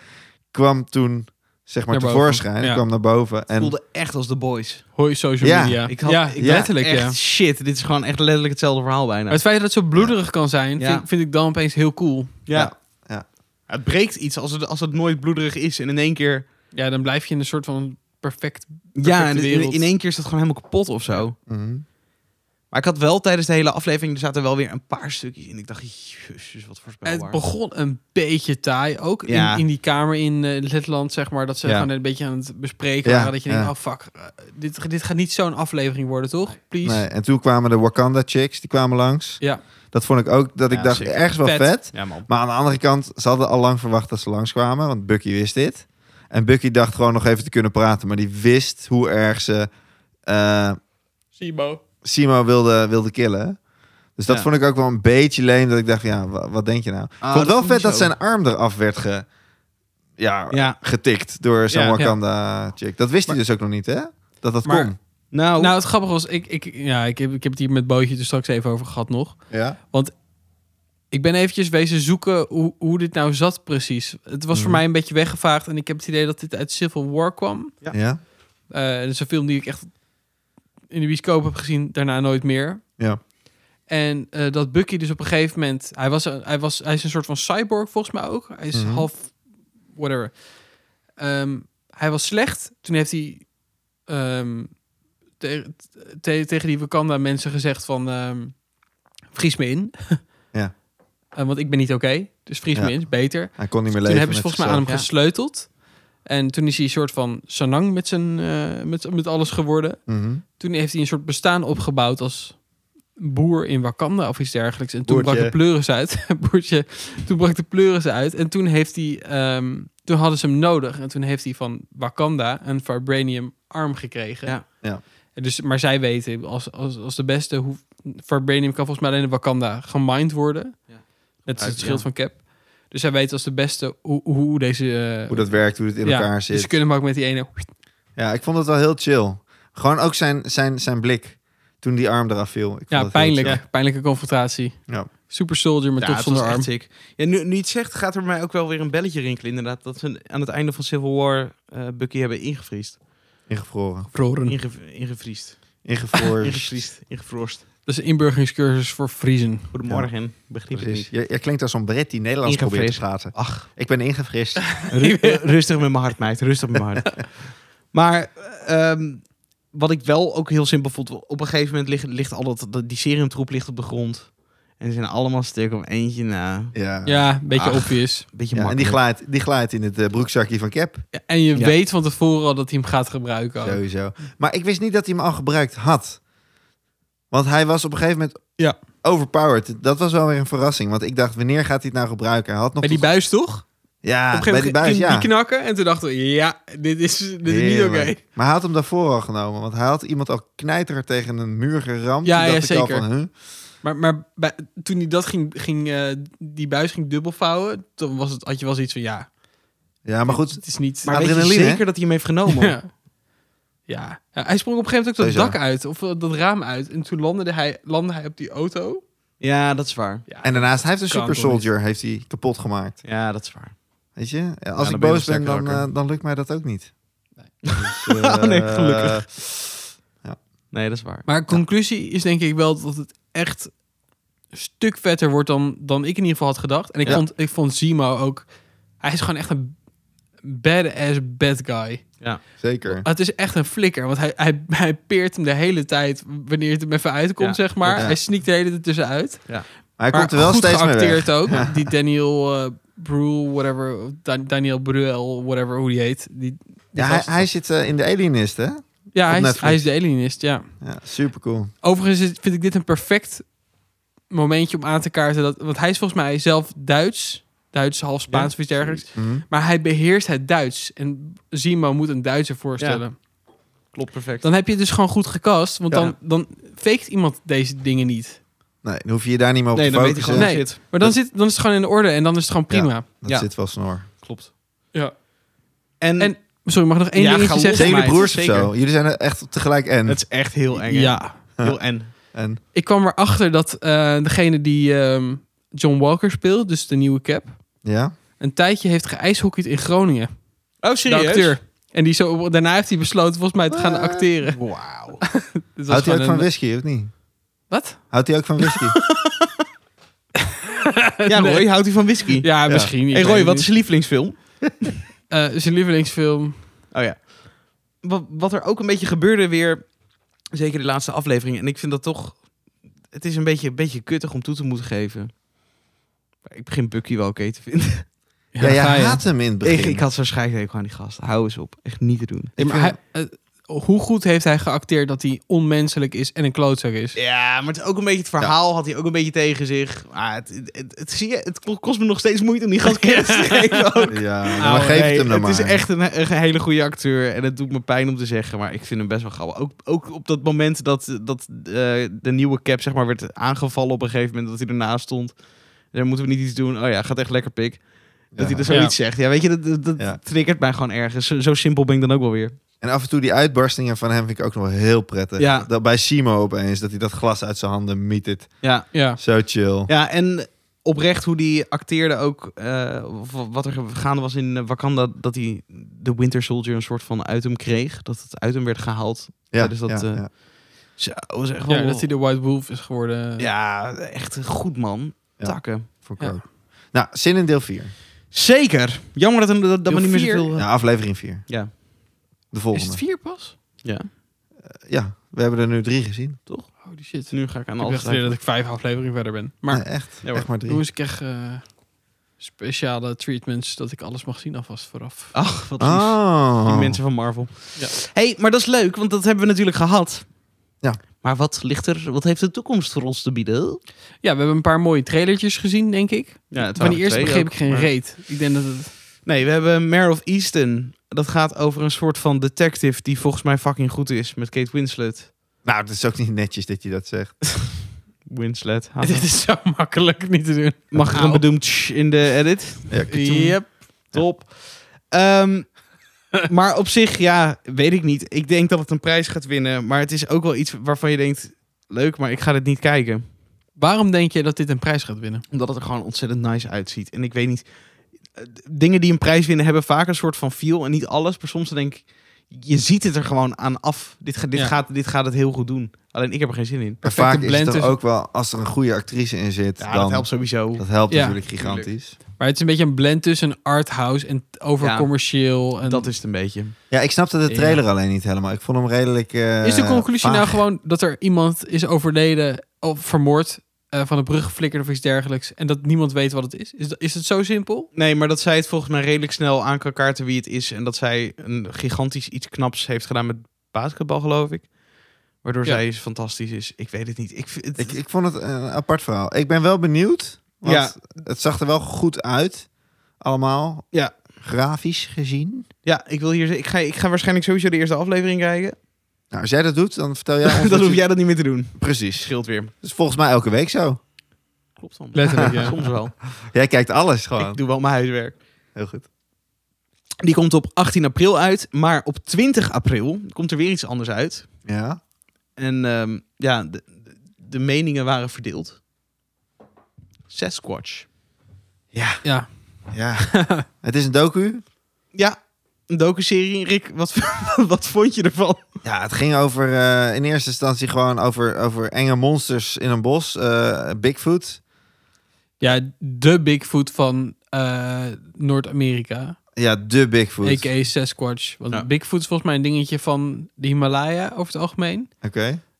S4: kwam toen zeg maar
S2: Naar boven,
S4: tevoorschijn.
S2: ja.
S4: kwam naar boven.
S1: Het
S4: En
S1: voelde echt als de boys.
S2: Hoi social
S4: Ja,
S2: media.
S1: Ik had
S2: ja, ik
S4: ja,
S2: letterlijk
S1: echt
S2: ja.
S1: shit. Dit is gewoon echt letterlijk hetzelfde verhaal bijna.
S2: Maar het feit dat het zo bloederig kan zijn,
S1: Ja.
S2: vind, ik- vind ik dan opeens heel cool.
S1: ja.
S4: Ja, ja.
S1: Het breekt iets als het, als het nooit bloederig is en in één keer...
S2: Ja, dan blijf je in een soort van perfect,
S1: Ja,
S2: perfecte
S1: en in,
S2: wereld.
S1: in één keer is dat gewoon helemaal kapot of zo.
S4: mhm.
S1: Maar ik had wel tijdens de hele aflevering, er zaten wel weer een paar stukjes in. Ik dacht, jezus, wat voorspelbaar.
S2: Het begon een beetje taai, ook
S1: Ja.
S2: in, in die kamer in eh, Letland, zeg maar, dat ze
S4: Ja.
S2: gewoon een beetje aan het bespreken
S4: Ja,
S2: waren. Dat je denkt,
S4: ja.
S2: oh fuck, eh, dit, dit gaat niet zo'n aflevering worden, toch? Please.
S4: nee, en toen kwamen de Wakanda chicks, die kwamen langs.
S2: Ja.
S4: Dat vond ik ook, dat
S1: Ja,
S4: ik dacht,
S1: zeker.
S4: ergens wel
S2: Vet.
S4: vet.
S1: Ja, man.
S4: Maar aan de andere kant, ze hadden al lang verwacht dat ze langskwamen, want Bucky wist dit. En Bucky dacht gewoon nog even te kunnen praten, maar die wist hoe erg ze eh,
S2: Simo.
S4: Simo wilde, wilde killen. Dus dat
S1: Ja.
S4: vond ik ook wel een beetje leem, dat ik dacht, van, ja, wa- wat denk je nou? ik vond
S1: dat
S4: het wel
S1: vond
S4: vet
S1: ik
S4: dat
S1: zo.
S4: zijn arm eraf werd ge, ja,
S1: Ja.
S4: getikt door zo'n
S1: Ja.
S4: Wakanda-chick. Dat wist hij dus ook nog niet, hè? Dat dat
S2: Maar-
S4: kon.
S1: Nou,
S2: Nou, het grappige was, ik, ik, ja, ik, heb, ik heb het hier met Bootje er straks even over gehad nog.
S4: Ja.
S2: Ik ben eventjes wezen zoeken hoe, hoe dit nou zat precies. Het was voor
S4: Mhm.
S2: mij een beetje weggevaagd en ik heb het idee dat dit uit Civil War kwam.
S4: Ja.
S2: Eh dat is een film die ik echt in de bioscoop heb gezien, daarna nooit meer.
S4: Ja.
S2: En eh, dat Bucky dus op een gegeven moment... Hij, was, een- hij, was, hij is een soort van cyborg volgens mij ook. Hij is
S4: Mhm.
S2: half... Whatever. Ehm, hij was slecht. Toen heeft hij ehm, te- te- tegen die Wakanda mensen gezegd van... ehm, vries me in.
S4: Ja.
S2: Eh, want ik ben niet oké. dus vries
S4: Ja.
S2: me in, is beter.
S4: Hij kon niet meer
S2: Toen
S4: leven
S2: hebben ze
S4: met
S2: volgens mij aan hem
S4: zichzelf.
S2: gesleuteld. En toen is hij een soort van sanang met, zijn, eh, met, met alles geworden.
S4: Mhm.
S2: Toen heeft hij een soort bestaan opgebouwd als boer in Wakanda of iets dergelijks. En toen
S4: Boertje.
S2: brak de pleuris uit. Boertje. Toen brak de pleuris uit. En toen heeft hij... ehm, toen hadden ze hem nodig. En toen heeft hij van Wakanda een vibranium arm gekregen.
S1: Ja.
S4: Ja.
S2: En Dus, maar zij weten, als, als, als de beste, hoe, Vibranium kan volgens mij alleen in Wakanda gemined worden. Net als het
S4: Uit,
S2: schild
S4: ja.
S2: van Cap. Dus zij weten als de beste hoe, hoe deze... eh,
S4: Hoe dat werkt, hoe het in
S2: ja,
S4: elkaar
S2: Dus
S4: zit.
S2: ze kunnen hem ook met die ene...
S4: Ja, ik vond het wel heel chill. Gewoon ook zijn, zijn, zijn blik toen die arm eraf viel. Ik vond
S2: Ja,
S4: het heel
S2: pijnlijk.
S4: chill.
S2: Pijnlijke confrontatie.
S4: Ja.
S2: Super Soldier, maar
S1: Ja,
S2: toch
S1: het
S2: zonder
S1: was
S2: arm.
S1: echt sick. Ja, nu, nu je het zegt, gaat er mij ook wel weer een belletje rinkelen. Inderdaad, dat ze aan het einde van Civil War eh, Bucky hebben ingevriest.
S4: Ingevroren.
S2: Vroren.
S1: Ingev ingevriest.
S4: Ingevroorst.
S1: Ingevriest. Ingevroorst.
S2: Dat is een inburgeringscursus voor Vriezen.
S1: Goedemorgen. Begrijp het
S4: Precies.
S1: niet.
S4: Je, je klinkt als een Brit die Nederlands probeert te praten.
S1: Ach,
S4: Ik ben ingefrist.
S1: ru- rustig met mijn hart, meid. Rustig met mijn hart. Maar ehm, wat ik wel ook heel simpel vond. Op een gegeven moment ligt, ligt al dat, dat- die serumtroep ligt op de grond. En ze zijn allemaal stuk om eentje na.
S4: Ja. Ah.
S2: Ja, een beetje
S1: Ach.
S2: obvious.
S1: Beetje
S4: Ja, en die
S1: makkelijk.
S4: glijdt, die glijdt in het eh, broekzakje van Cap.
S2: Ja, En je
S1: Ja.
S2: weet van tevoren al dat hij hem gaat gebruiken. ook.
S4: Sowieso. Maar ik wist niet dat hij hem al gebruikt had. Want hij was op een gegeven moment
S2: Ja.
S4: overpowered. Dat was wel weer een verrassing. Want ik dacht, wanneer gaat hij het nou gebruiken? Hij had nog
S2: Bij die
S4: tot-
S2: buis toch?
S4: Ja,
S2: op een
S4: bij die
S2: gegeven moment
S4: buis,
S2: ging
S4: ja.
S2: die knakken. En toen dachten we, ja, dit is, dit is niet oké.
S4: Heerlijk. Maar hij had hem daarvoor al genomen. Want hij had iemand al knijter tegen een muur geramd.
S2: Ja,
S4: Toen
S2: ja,
S4: dacht ik al
S2: zeker.
S4: van, huh?
S2: Maar, maar bij- toen hij dat ging, ging eh, die buis ging dubbelvouwen, toen was het, had je wel zoiets van, ja,
S4: Ja, maar goed.
S2: het is niet...
S1: Maar weet je
S4: Adrenaline, hè?
S1: zeker dat hij hem heeft genomen?
S2: ja. Ja. Ja, hij sprong op een gegeven moment ook dat
S4: Sowieso.
S2: dak uit, of eh, dat raam uit. En toen landde hij, landde hij op die auto.
S1: Ja, dat is waar.
S2: Ja,
S4: En daarnaast, hij heeft een
S2: Kan
S4: super
S2: toch niet?
S4: soldier heeft hij kapot gemaakt.
S1: Ja, dat is waar.
S4: Weet je? Ja,
S1: dan
S4: Als ik
S1: ben je
S4: boos
S1: nog sterker
S4: ben, dan,
S1: wakker.
S4: eh, dan lukt mij dat ook niet. Dus,
S1: Oh nee,
S4: eh,
S1: gelukkig. Nee, dat is waar.
S2: Maar conclusie is denk ik wel dat het echt een stuk vetter wordt dan, dan ik in ieder geval had gedacht. En ik
S4: Ja.
S2: vond, ik vond Zemo ook... Hij is gewoon echt een badass bad guy. Ah,
S4: Zeker.
S2: Het is echt een flikker, want hij, hij, hij peert hem de hele tijd wanneer het hem even uitkomt,
S1: Ja,
S2: zeg maar.
S4: ja.
S2: Hij sneakt de hele tijd tussenuit.
S4: Maar hij
S2: maar
S4: komt er wel
S2: goed
S4: steeds mee weg.
S2: geacteerd ook. Die Daniel eh Bruel, whatever, of Dan- Daniel Bruel, whatever, hoe die heet. Die, die
S4: Ja, hij,
S2: gast.
S4: hij zit eh, in de alienist, hè?
S2: ja, hij, is,
S4: Netflix.
S2: hij is de alienist, ja.
S4: Ja, super cool.
S2: Overigens is- vind ik dit een perfect momentje om aan te kaarten. Dat, want hij is volgens mij zelf Duits. Duits, half Spaans of iets dergelijks.
S1: Mhm.
S2: Maar hij beheerst het Duits. En Zimo moet een Duitser voorstellen.
S1: Klopt perfect.
S2: Dan heb je het dus gewoon goed gecast. Want
S1: Ja.
S2: dan, dan faked iemand deze dingen niet.
S4: Nee, dan hoef je je daar niet meer op
S1: nee,
S4: te
S1: dan weet ik
S4: focussen.
S1: gewoon
S2: Nee.
S1: shit.
S2: Maar dan, zit, dan is het gewoon in orde en dan is het gewoon prima.
S4: Dat
S1: Ja.
S4: zit wel snor.
S1: Klopt.
S2: Ja.
S1: En,
S2: En- Sorry, mag ik nog één
S1: Ja, ga
S2: dingetje
S1: los,
S2: zeggen?
S4: Zijn jullie
S1: meid,
S4: broers of
S1: zeker.
S4: zo? Jullie zijn er echt tegelijk en.
S1: het is echt heel eng. hè?
S2: Ja.
S1: Heel en.
S4: en.
S2: Ik kwam erachter dat eh, degene die ehm, John Walker speelt, dus de nieuwe cap,
S4: Ja?
S2: een tijdje heeft geijshockeyd in Groningen.
S1: Oh,
S2: De acteur. En die zo, daarna heeft hij besloten volgens mij te gaan acteren.
S1: Wauw.
S2: Dit was
S4: Houdt hij ook
S2: gewoon
S4: van
S2: een-
S4: whisky, of niet?
S2: Wat?
S4: Houdt hij ook van whisky?
S1: Ja, Roy, houdt hij van whisky?
S2: Ja, misschien. ik
S1: hey,
S2: weet
S1: Roy,
S2: het
S1: wat
S2: niet.
S1: is je lievelingsfilm?
S2: Eh, zijn lievelingsfilm?
S1: Oh ja. Wat, wat er ook een beetje gebeurde weer, zeker de laatste aflevering, en ik vind dat toch, het is een beetje, een beetje kuttig om toe te moeten geven. Maar ik begin Bucky wel oké te vinden.
S4: ja,
S2: daar
S4: jij
S2: ga je.
S4: haat hem in het begin.
S1: Ik, ik had zo'n schijfhekel aan die gast. Hou eens op. Echt niet te doen.
S2: Ja, maar hij- eh, hoe goed heeft hij geacteerd dat hij onmenselijk is en een klootzak is?
S1: Ja, maar het, is ook een beetje het verhaal had hij ook een beetje tegen zich. Ah, het, het, het, het zie je, het kost me nog steeds moeite om die gast kennis te geven. ook.
S4: Ja, nou, maar
S1: Ouwe,
S4: geef
S1: Ah, Oh, nee,
S4: het hem dan maar.
S1: is echt een, een hele goede acteur. En het doet me pijn om te zeggen, maar ik vind hem best wel grappig. Ook, ook op dat moment dat, dat eh, de nieuwe cap zeg maar, werd aangevallen op een gegeven moment. Dat hij ernaast stond. Daar moeten we niet iets doen. Oh ja, gaat echt lekker pik. Dat
S4: Ja.
S1: hij er zoiets zegt. Ja, weet je, dat, dat, dat
S4: Ja.
S1: triggert mij gewoon ergens. Zo, zo simpel ben ik dan ook wel weer.
S4: En af en toe die uitbarstingen van hem vind ik ook nog wel heel prettig.
S1: Ja.
S4: Dat bij Simo opeens, dat hij dat glas uit zijn handen mietert.
S1: Ja,
S2: Ja.
S4: Zo chill.
S1: ja en oprecht hoe die acteerde ook... eh, w- wat er gaande was in eh, Wakanda... dat hij de Winter Soldier een soort van uit hem kreeg. Dat het uit hem werd gehaald.
S4: Ja,
S1: dus dat,
S4: ja,
S1: eh,
S4: ja.
S1: Zo, was echt wel...
S2: Ja, dat hij de White Wolf is geworden.
S1: Ja, echt een goed man.
S4: Ja.
S1: Takken.
S4: Vond ik
S2: ja.
S4: ook. Nou, zin in deel 4.
S1: Zeker. Jammer dat, dat, dat
S2: Deel
S1: we niet meer
S2: vier?
S1: zoveel...
S4: Ja, aflevering 4.
S1: Ja.
S4: De
S2: Is
S4: volgende.
S2: het vier pas?
S4: Ja, we hebben er nu drie gezien.
S2: Holy shit.
S1: Nu ga ik aan
S2: ik
S1: alles
S2: dacht weer
S1: schrijven.
S2: dat ik vijf afleveringen verder ben. Maar
S4: Nee, echt,
S1: Ja, hoor.
S4: echt maar drie.
S2: hoe is ik echt eh, speciale treatments dat ik alles mag zien alvast vooraf?
S1: Ach, wat lief. Die
S4: Oh.
S1: mensen van Marvel.
S2: Ja.
S1: hey, maar dat is leuk, want dat hebben we natuurlijk gehad.
S4: Ja.
S1: Maar wat ligt er... Wat heeft de toekomst voor ons te bieden?
S2: Ja, we hebben een paar mooie trailertjes gezien, denk ik.
S1: Ja, het
S2: Van die eerste begreep ik geen reet. Ik denk dat het...
S1: Nee, we hebben Mare of Easton. Dat gaat over een soort van detective die volgens mij fucking goed is met Kate Winslet.
S4: Nou, het is ook niet netjes dat je dat zegt.
S1: Winslet.
S2: Dit is zo makkelijk niet te doen.
S1: Mag ik een
S2: Au.
S1: bedoemd tsch in de edit?
S4: Ja,
S2: Yep.
S1: Top. Ehm, maar op zich, ja, weet ik niet. Ik denk dat het een prijs gaat winnen. Maar het is ook wel iets waarvan je denkt... Leuk, maar ik ga dit niet kijken.
S2: Waarom denk je dat dit een prijs gaat winnen?
S1: Omdat het er gewoon ontzettend nice uitziet. En ik weet niet... eh, d- Dingen die een prijs winnen hebben vaak een soort van feel. En niet alles. Maar soms dan denk ik... Je ziet het er gewoon aan af. Dit, ga- dit,
S2: Ja.
S1: gaat, dit gaat het heel goed doen. Alleen ik heb er geen zin in.
S4: Maar
S2: Perfecte
S4: vaak is het
S2: blend
S4: er
S2: tussen-
S4: ook wel, als er een goede actrice in zit,
S1: Ja,
S4: dan,
S1: dat helpt sowieso.
S4: dat helpt
S2: Ja,
S4: natuurlijk
S1: tuurlijk.
S4: gigantisch.
S2: Maar het is een beetje een blend tussen arthouse en t- overcommercieel. En...
S1: Dat is het een beetje.
S4: Ja, ik snapte de
S2: Ja.
S4: trailer alleen niet helemaal. Ik vond hem redelijk. eh,
S2: Is de conclusie
S4: vaag.
S2: nou gewoon dat er iemand is overleden of vermoord, eh, van een brug geflikkerd of iets dergelijks, en dat niemand weet wat het is? Is, dat- is het zo simpel?
S1: Nee, maar dat zij het volgens mij redelijk snel aan kan kaarten wie het is. En dat zij een gigantisch iets knaps heeft gedaan met basketbal, geloof ik. Waardoor
S2: Ja.
S1: zij fantastisch is. Ik weet het niet. Ik, vind het-
S4: Ik, ik vond het een apart verhaal. Ik ben wel benieuwd. Want
S1: Ja.
S4: het zag er wel goed uit. Allemaal.
S1: Ja.
S4: Grafisch gezien.
S1: ja, ik, wil hier, ik, ga, ik ga waarschijnlijk sowieso de eerste aflevering kijken.
S4: Nou, als jij dat doet, dan vertel jij ons.
S1: dan
S4: wat
S1: hoef
S4: je-
S1: jij dat niet meer te doen.
S4: Precies.
S1: Scheelt weer.
S4: Dat is volgens mij elke week zo.
S1: Klopt dan.
S2: Letterlijk, ja.
S1: Soms wel.
S4: Jij kijkt alles gewoon.
S1: Ik doe wel mijn huiswerk.
S4: Heel goed.
S1: Die komt op 18 april uit. Maar op 20 april komt er weer iets anders uit.
S4: Ja.
S1: En ehm, ja, de, de- de meningen waren verdeeld. Sasquatch.
S4: Ja.
S2: Ja.
S4: Ja. het is een docu.
S1: Ja, een docuserie. Rick, wat, wat vond je ervan?
S4: Ja, het ging over eh, in eerste instantie gewoon over, over enge monsters in een bos. eh, Bigfoot.
S2: Ja, de Bigfoot van eh, Noord-Amerika.
S4: Ja, de Bigfoot. Oké.
S2: A.k.a. Sasquatch. Want
S1: Ja.
S2: Bigfoot is volgens mij een dingetje van de Himalaya over het algemeen.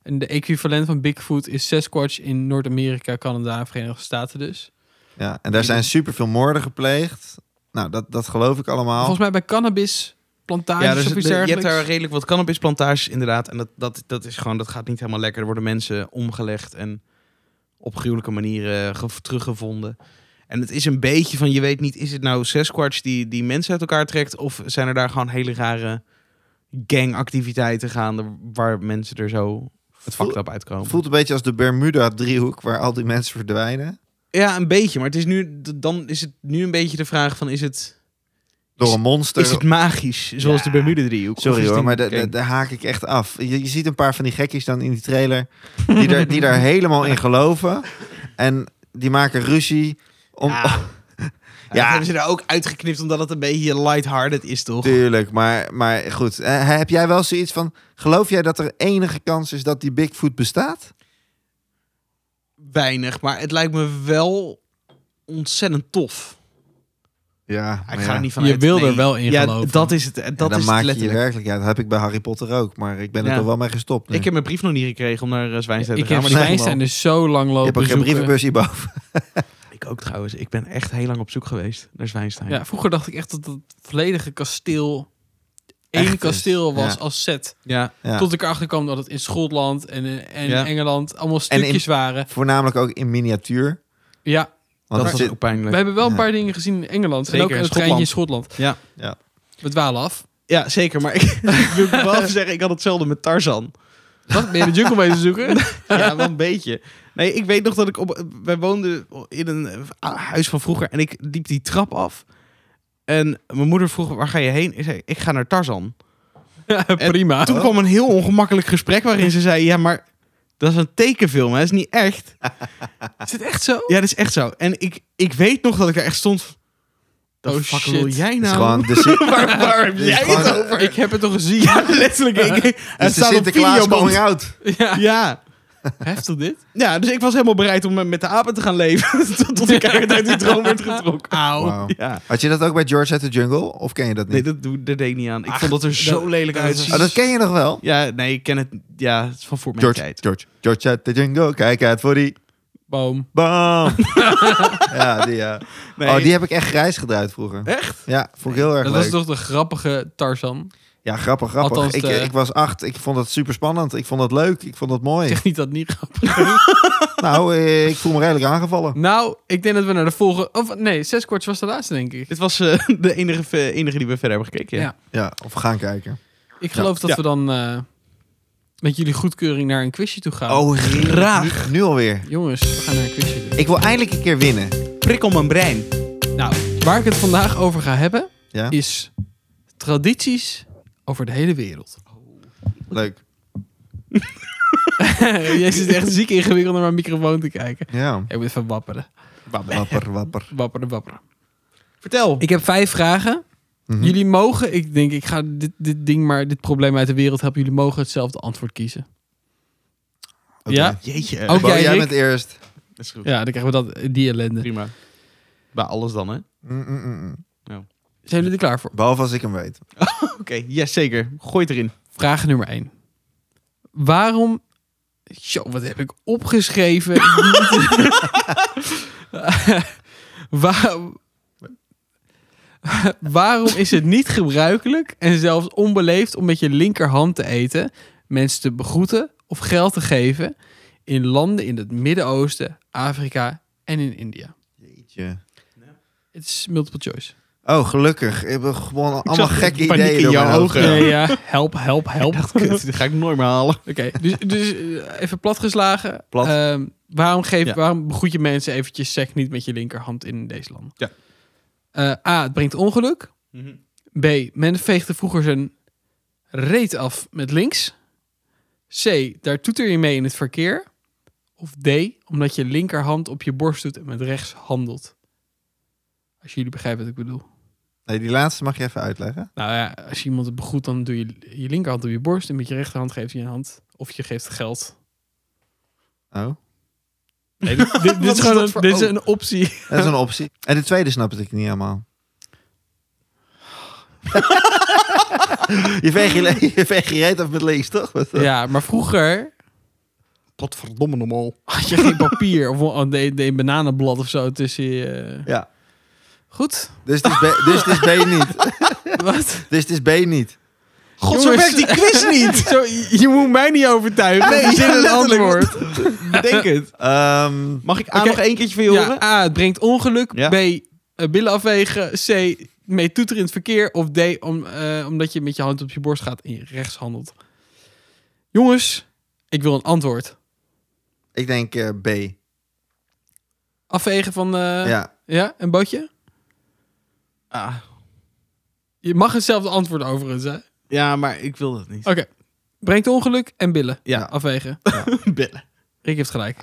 S2: En de equivalent van Bigfoot is Sasquatch in Noord-Amerika, Canada en Verenigde Staten dus.
S4: Ja, en daar zijn superveel moorden gepleegd. Nou, dat, dat geloof ik allemaal.
S2: Volgens mij bij cannabis plantages
S1: dus
S2: of iets
S1: de- je hebt
S2: dergelijks.
S1: daar redelijk wat cannabisplantages inderdaad. En dat, dat, dat is gewoon, dat gaat niet helemaal lekker. Er worden mensen omgelegd en op gruwelijke manieren ge- teruggevonden. En het is een beetje van, je weet niet, is het nou Sasquatch die, die mensen uit elkaar trekt? Of zijn er daar gewoon hele rare gangactiviteiten gaande waar mensen er zo het
S4: voelt-
S1: fucked up uitkomen?
S4: Het voelt een beetje als de Bermuda-driehoek waar al die mensen verdwijnen.
S1: Ja, een beetje. Maar het is nu, d- dan is het nu een beetje de vraag van, is het...
S4: Door een monster.
S1: Is het magisch, zoals de Bermuda-driehoek? Of
S4: Sorry
S1: is het
S4: hoor,
S1: een
S4: maar da- da-
S1: gang?
S4: daar haak ik echt af. Je, je ziet een paar van die gekkies dan in die trailer die, daar, die daar helemaal in geloven. En die maken ruzie. Om,
S1: Ja. Ja, dat
S4: Ja.
S1: hebben ze er ook uitgeknipt omdat het een beetje lighthearted is, toch?
S4: Tuurlijk, maar, maar goed. Eh, heb jij wel zoiets van, geloof jij dat er enige kans is dat die Bigfoot bestaat?
S1: Weinig, maar het lijkt me wel ontzettend tof.
S4: Ja,
S1: Ik ga er niet van
S2: Je
S1: uit.
S2: wil er
S1: nee.
S2: wel in
S1: ja,
S2: geloven.
S1: dat is het. eh, Dat
S4: Dat dan
S1: is
S4: maak
S1: het
S4: je je
S1: letterlijk.
S4: werkelijkheid. Dat heb ik bij Harry Potter ook, maar ik ben
S1: Ja.
S4: er toch wel mee gestopt nu.
S1: Ik heb mijn brief nog niet gekregen om naar eh, Zwijnstein
S2: Ik
S1: te gaan.
S2: heb
S1: Maar die
S2: zijn
S1: komt
S2: zijn
S1: wel.
S2: dus zo lang
S4: Je
S2: lopen
S4: hebt ook geen
S2: zoeken.
S4: brievenbus hierboven.
S1: Ik ook trouwens. Ik ben echt heel lang op zoek geweest naar Zwijnstein.
S2: Ja, vroeger dacht ik echt dat het volledige kasteel
S4: Echt
S2: één
S4: is.
S2: kasteel was
S4: Ja.
S2: als set.
S1: ja.
S4: Ja.
S2: Tot ik erachter kwam dat het in Schotland en, eh, en
S1: Ja.
S2: Engeland allemaal stukjes waren.
S4: Voornamelijk ook in miniatuur.
S2: Ja,
S1: dat
S4: Want het
S1: was
S4: zit-
S1: ook pijnlijk.
S2: we hebben wel een
S4: Ja.
S2: paar dingen gezien in Engeland.
S1: Zeker,
S2: en ook een
S1: Schotland.
S2: treintje in Schotland.
S1: Ja.
S2: We dwalen af.
S1: ja, zeker. Maar ik ik wil wel even zeggen, ik had hetzelfde met Tarzan.
S2: Wat? Ben je de jungle mee te zoeken?
S1: ja, wel een beetje. Nee, ik weet nog dat ik op. Wij woonden in een eh, huis van vroeger en ik liep die trap af. En mijn moeder vroeg: waar ga je heen? Ik zei: ik ga naar Tarzan.
S2: Ja, Prima.
S4: Oh.
S1: Toen kwam een heel ongemakkelijk gesprek waarin ze zei: ja, maar dat is een tekenfilm, hè? Dat is niet echt.
S2: Is het echt zo?
S1: Ja, dat is echt zo. En ik, ik weet nog dat ik daar echt stond. Dat
S2: Oh,
S1: fuck
S2: shit.
S1: wil jij
S4: Het is
S1: nou?
S4: gewoon de, Sin-
S1: Waar, waar heb
S4: is
S1: jij
S4: gewoon-
S1: het over?
S2: Ik heb het toch gezien?
S1: Ja, letterlijk. ik-
S4: het
S1: het
S4: is de
S1: staat op
S4: Sinterklaas coming
S1: videoband.
S4: out.
S2: Ja.
S1: Ja.
S2: Heftig dit?
S1: ja, dus ik was helemaal bereid om eh, met de apen te gaan leven. tot, tot ik uit die droom werd getrokken.
S2: Auw.
S4: Wauw.
S1: Ja.
S4: Had je dat ook bij George uit the Jungle? Of ken je dat niet?
S1: Nee, dat, doe, dat deed ik niet aan. Ik vond dat er zo lelijk
S2: dat-
S1: uitziet.
S4: Oh, dat ken je nog wel?
S1: Ja, nee, ik ken het. Ja, het is van voor mijn
S4: George,
S1: tijd.
S4: George, George uit the Jungle. Kijk uit voor die
S2: Boom.
S4: bam. ja, die ja.
S1: Nee.
S4: Oh, die heb ik echt grijs gedraaid vroeger.
S1: Echt?
S4: Ja, vond ik heel erg
S2: Dat
S4: leuk.
S2: was toch de grappige Tarzan?
S4: Ja, grappig, grappig.
S2: Althans,
S4: ik,
S1: eh,
S2: de-
S4: ik was acht. Ik vond dat super spannend. Ik vond dat leuk. Ik vond dat mooi.
S2: Zeg niet dat het niet grappig is.
S4: Nou, eh, ik voel me redelijk aangevallen.
S2: Nou, ik denk dat we naar de volgende... Of nee, zes kwarts was de laatste, denk ik.
S1: Dit was eh, de enige, eh, enige die we verder hebben gekeken.
S2: Ja.
S4: Ja, of we gaan kijken.
S2: Ik geloof
S1: Ja.
S2: dat
S1: Ja.
S2: we dan eh, met jullie goedkeuring naar een quizje toe gaan.
S4: Oh, graag. Nu, nu alweer.
S2: Jongens, we gaan naar een quizje doen.
S4: Ik wil eindelijk een keer winnen.
S1: Prikkel mijn brein.
S2: Nou, waar ik het vandaag over ga hebben,
S4: Ja?
S2: is tradities over de hele wereld.
S4: Leuk.
S2: Jij zit echt ziek ingewikkeld naar mijn microfoon te kijken.
S4: Ja.
S2: Ik moet even wapperen.
S4: Wapper, wapper.
S2: Wapperen, wapperen.
S1: Vertel.
S2: Ik heb vijf vragen. Jullie mogen, ik denk, ik ga dit, dit ding maar, dit probleem uit de wereld helpen. Jullie mogen hetzelfde antwoord kiezen.
S4: Oké.
S2: Ja?
S1: Jeetje.
S2: Ook
S4: Bo,
S2: jij,
S4: jij
S2: Rick?
S4: bent eerst.
S1: Dat is goed.
S2: Ja, dan krijgen we dat, die ellende.
S1: Prima. Bij alles dan, hè?
S4: Mm, mm, mm, mm.
S2: Zijn jullie er klaar voor?
S4: Behalve als ik hem weet.
S1: Oké, yes, zeker. Gooi het erin.
S2: Vraag nummer 1. Waarom... Zo, wat heb ik opgeschreven? Ik moet- Waar- Waarom is het niet gebruikelijk en zelfs onbeleefd om met je linkerhand te eten, mensen te begroeten of geld te geven in landen in het Midden-Oosten, Afrika en in India?
S4: Tje.
S2: Het is multiple choice.
S4: Oh, gelukkig. Ik heb gewoon allemaal
S1: zag
S4: gekke
S1: paniek
S4: ideeën
S1: in
S4: door
S1: jouw
S4: mijn hoofd.
S1: ogen. Ja.
S2: Nee, ja, help, help, help.
S1: Kut, dit ga ik nooit meer halen.
S2: Oké, dus, dus eh, even platgeslagen.
S4: Plat.
S2: Ehm, waarom, geef,
S1: Ja.
S2: waarom begroet je mensen eventjes sec niet met je linkerhand in deze landen?
S1: Ja.
S2: Eh, A, het brengt ongeluk.
S1: Mhm.
S2: B, men veegde vroeger zijn reet af met links. C, daar toeter je mee in het verkeer. Of D, omdat je linkerhand op je borst doet en met rechts handelt. Als jullie begrijpen wat ik bedoel.
S4: Nee, die laatste mag je even uitleggen.
S2: Nou ja, als je iemand het begroet, dan doe je je linkerhand op je borst en met je rechterhand geeft je een hand. Of je geeft geld
S4: Oh.
S2: Nee, dit, dit- dit
S1: Wat
S2: is oh.
S1: is
S2: gewoon
S1: dat
S2: een,
S1: voor
S2: dit is
S1: oog?
S2: een optie.
S4: Dat is een optie. En de tweede snapte ik niet helemaal. je veegt je, le- je veegt je reet af met links, toch? Wat-
S2: Ja, maar vroeger
S1: Potverdomme normaal.
S2: had je geen papier of een, een, een bananenblad of zo tussen je... eh,
S4: Ja.
S2: Goed,
S4: Dus het is B, dus het is B niet.
S2: wat?
S4: Dus het is B niet.
S1: God, zo werkt die quiz niet.
S2: Zo, je- je moet mij niet overtuigen.
S1: Nee,
S2: Nee, zin
S1: ja,
S2: een
S1: letterlijk.
S2: antwoord.
S1: Bedenk het.
S4: Ehm,
S1: Mag ik A
S2: Oké.
S1: nog één keertje van je horen?
S2: Ja, A, het brengt ongeluk.
S1: Ja.
S2: B, eh, billen afwegen. C, mee toeteren in het verkeer. Of D, om, eh, omdat je met je hand op je borst gaat en je rechts handelt. Jongens, ik wil een antwoord.
S4: ik denk eh, B.
S2: Afvegen van... eh,
S4: Ja.
S2: ja, een bootje?
S1: Ah,
S2: Je mag hetzelfde antwoord overigens, hè? Oké.
S1: ja, maar ik wil dat niet.
S2: Brengt ongeluk en billen.
S1: Ja. Ah,
S2: Afwegen.
S1: Bellen.
S2: Rick heeft gelijk.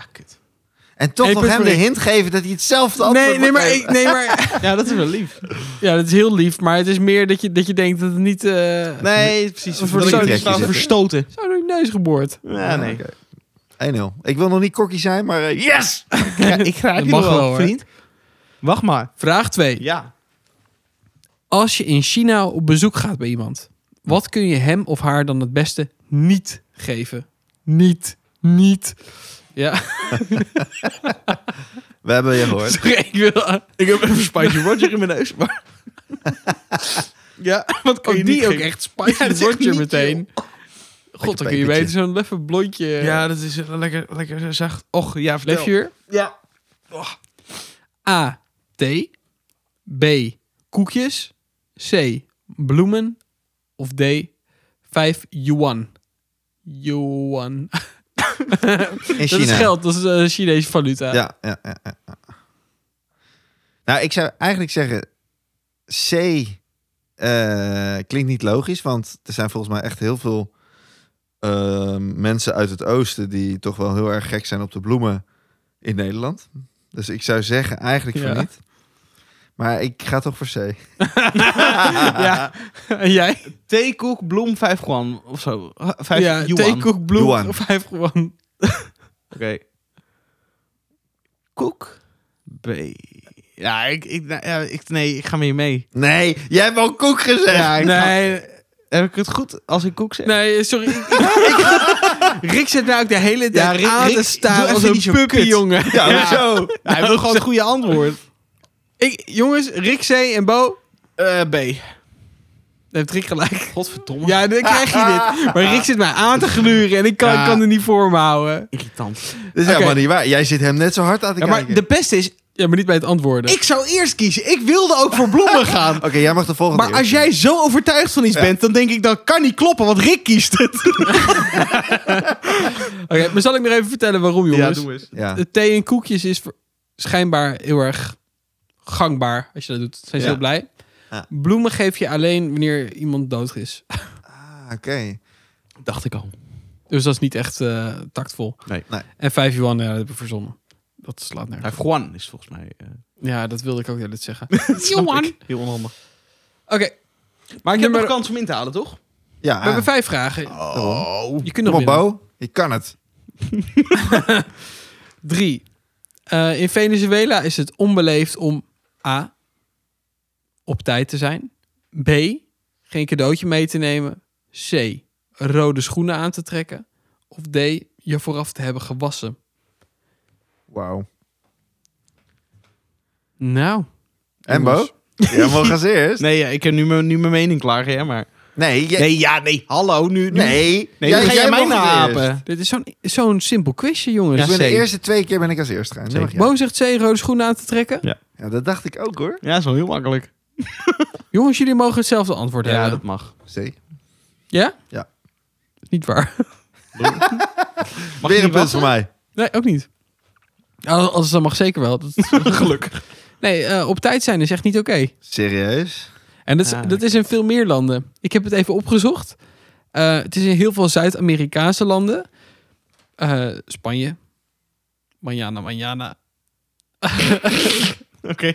S4: En toch
S2: Eén
S4: nog
S2: punt
S4: hem
S2: voor
S4: de
S2: Rick.
S4: hint geven dat hij hetzelfde antwoord
S2: nee, nee,
S4: mag
S2: maar,
S4: geven.
S2: ik, nee, maar...
S1: Ja, dat is wel lief.
S2: Ja, dat is heel lief, maar het is meer dat je, dat je denkt dat het niet... eh,
S1: Nee, precies.
S2: Een
S1: Voor de
S4: verstootje
S1: staan
S4: zitten.
S1: verstoten.
S2: Zo door je neus geboord.
S1: Ja, nee.
S4: Oké. 1-0. Ik wil nog niet kokkie zijn, maar eh, yes!
S1: ik ga
S2: Dat mag wel, hoor.
S1: Wacht maar.
S2: Vraag 2.
S1: Ja.
S2: Als je in China op bezoek gaat bij iemand, wat kun je hem of haar dan het beste niet geven? Niet. Niet. Ja,
S4: We hebben je gehoord.
S2: sorry, ik wil...
S1: Ik heb even Spicy Roger in mijn neus, maar... ja, wat kan
S2: Oh,
S1: je
S2: die
S1: niet
S2: ook
S1: geven?
S2: echt spicy
S1: Ja, dat is echt
S2: Roger
S1: niet Oh,
S2: meteen. God, dan kun je
S4: pepertje.
S2: weten zo'n leffe blondje. eh,
S1: Ja, dat is lekker, lekker zacht. Och, ja, vertel.
S2: Lefje?
S1: Ja.
S2: Oh. A. Thee. B. Koekjes. C. Bloemen. Of D. 5 yuan. Yuan.
S4: In
S2: Dat is
S4: China.
S2: geld, dat is eh, Chinese valuta.
S4: Ja, ja, ja, ja, ja. Nou, ik zou eigenlijk zeggen... C eh, klinkt niet logisch, want er zijn volgens mij echt heel veel eh, mensen uit het oosten die toch wel heel erg gek zijn op de bloemen in Nederland. Dus ik zou zeggen eigenlijk van
S2: Ja.
S4: niet. Maar ik ga toch voor C.
S2: Ja. En jij?
S1: Theekoek, bloem, vijf guan of zo. Ah, Vijf
S2: ja,
S1: yuan.
S2: thee, koek, bloem,
S4: Yuan.
S2: 5 yuan.
S1: Oké. Koek. B. Ja, ik, ik, nou, ja, ik, nee, ik ga met je mee.
S4: Nee, jij hebt al koek gezegd.
S1: Ja, ik ga-
S2: Nee,
S1: heb ik het goed als ik koek zeg?
S2: nee, sorry. Ik- Rick zit nou ook de hele tijd
S1: Ja, Rick-
S2: aan
S1: Rick,
S2: te
S1: doe
S2: staan als
S1: even
S2: een
S1: niet zo
S2: puppy,
S1: kut.
S2: jongen.
S1: Ja, hoezo? Hij wil gewoon het goede antwoord.
S2: Ik, jongens, Rick C. en Bo,
S1: Eh, B.
S2: heeft Rick gelijk.
S1: Godverdomme.
S2: Ja, dan krijg je dit. Maar Rick zit mij aan te gluren en ik kan,
S1: Ja.
S2: kan er niet voor me houden.
S1: Irritant.
S4: Dat is helemaal niet waar. Jij zit hem net zo hard aan te
S2: Ja, maar
S4: kijken.
S2: de beste is... Ja, maar niet bij het antwoorden.
S1: Ik zou eerst kiezen. Ik wilde ook voor Blommen gaan.
S4: Oké, jij mag de volgende
S1: Maar
S4: eerst.
S1: als jij zo overtuigd van iets
S4: Ja.
S1: bent, dan denk ik, dat kan niet kloppen, want Rick kiest het.
S2: Oké, maar zal ik nog even vertellen waarom, jongens?
S1: eens.
S4: Ja.
S2: De thee en koekjes is voor- schijnbaar heel erg gangbaar. Als je dat doet, zijn ze
S4: Ja.
S2: heel blij.
S4: Ja.
S2: Bloemen geef je alleen wanneer iemand dood is.
S4: Ah, Oké.
S1: Dacht ik al.
S2: Dus dat is niet echt eh, tactvol.
S1: Nee.
S4: Nee.
S2: En 5 yuan, ja, dat heb ik verzonnen. Dat slaat nergens.
S1: Nou, Juan is volgens mij eh,
S2: Ja, dat wilde ik ook net zeggen.
S11: Johan.
S2: Oké,
S1: heel onhandig. Maar ik heb
S2: Nummer-
S1: nog kans om in te halen, toch?
S4: Ja.
S2: we hebben vijf vragen.
S4: Ah. Oh.
S2: Je kunt nog
S4: Kom op,
S2: winnen.
S4: Bo. Je kan het.
S2: Drie. Eh, in Venezuela is het onbeleefd om A. op tijd te zijn. B. geen cadeautje mee te nemen. C. rode schoenen aan te trekken. Of D. je vooraf te hebben gewassen.
S4: Wauw.
S2: Nou.
S4: En Bo? Jij mag als eerst.
S1: Nee, ja, ik heb nu mijn, nu mijn mening klaar, hè, maar...
S4: Nee. jij-
S1: Nee, ja, nee, hallo, nu... nu-
S4: Nee.
S1: Nee, dan ga jij mij
S4: mag als
S1: napen.
S4: eerst.
S2: Dit is zo'n zo'n simpel quizje, jongens.
S4: Ik ben de
S1: Zeker.
S4: eerste twee keer ben ik als eerst gegaan. Nu mag jij.
S2: Bo zegt C. rode schoenen aan te trekken.
S4: Ja, dat dacht ik ook hoor.
S1: Ja, dat is wel heel makkelijk.
S2: Jongens, jullie mogen hetzelfde antwoord
S1: Ja,
S2: hebben.
S1: dat mag.
S4: Zee.
S2: Ja?
S4: Ja.
S2: Niet waar.
S4: Weer een punt voor mij.
S2: Nee, ook niet. Als, als het dan mag, zeker wel. Gelukkig. Nee, eh, op tijd zijn is echt niet oké.
S4: Serieus?
S2: En dat is,
S1: Ja.
S4: Ah.
S2: dat is in veel meer landen. Ik heb het even opgezocht. Eh, het is in heel veel Zuid-Amerikaanse landen. Eh, Spanje. Manjana, manjana.
S1: Oké.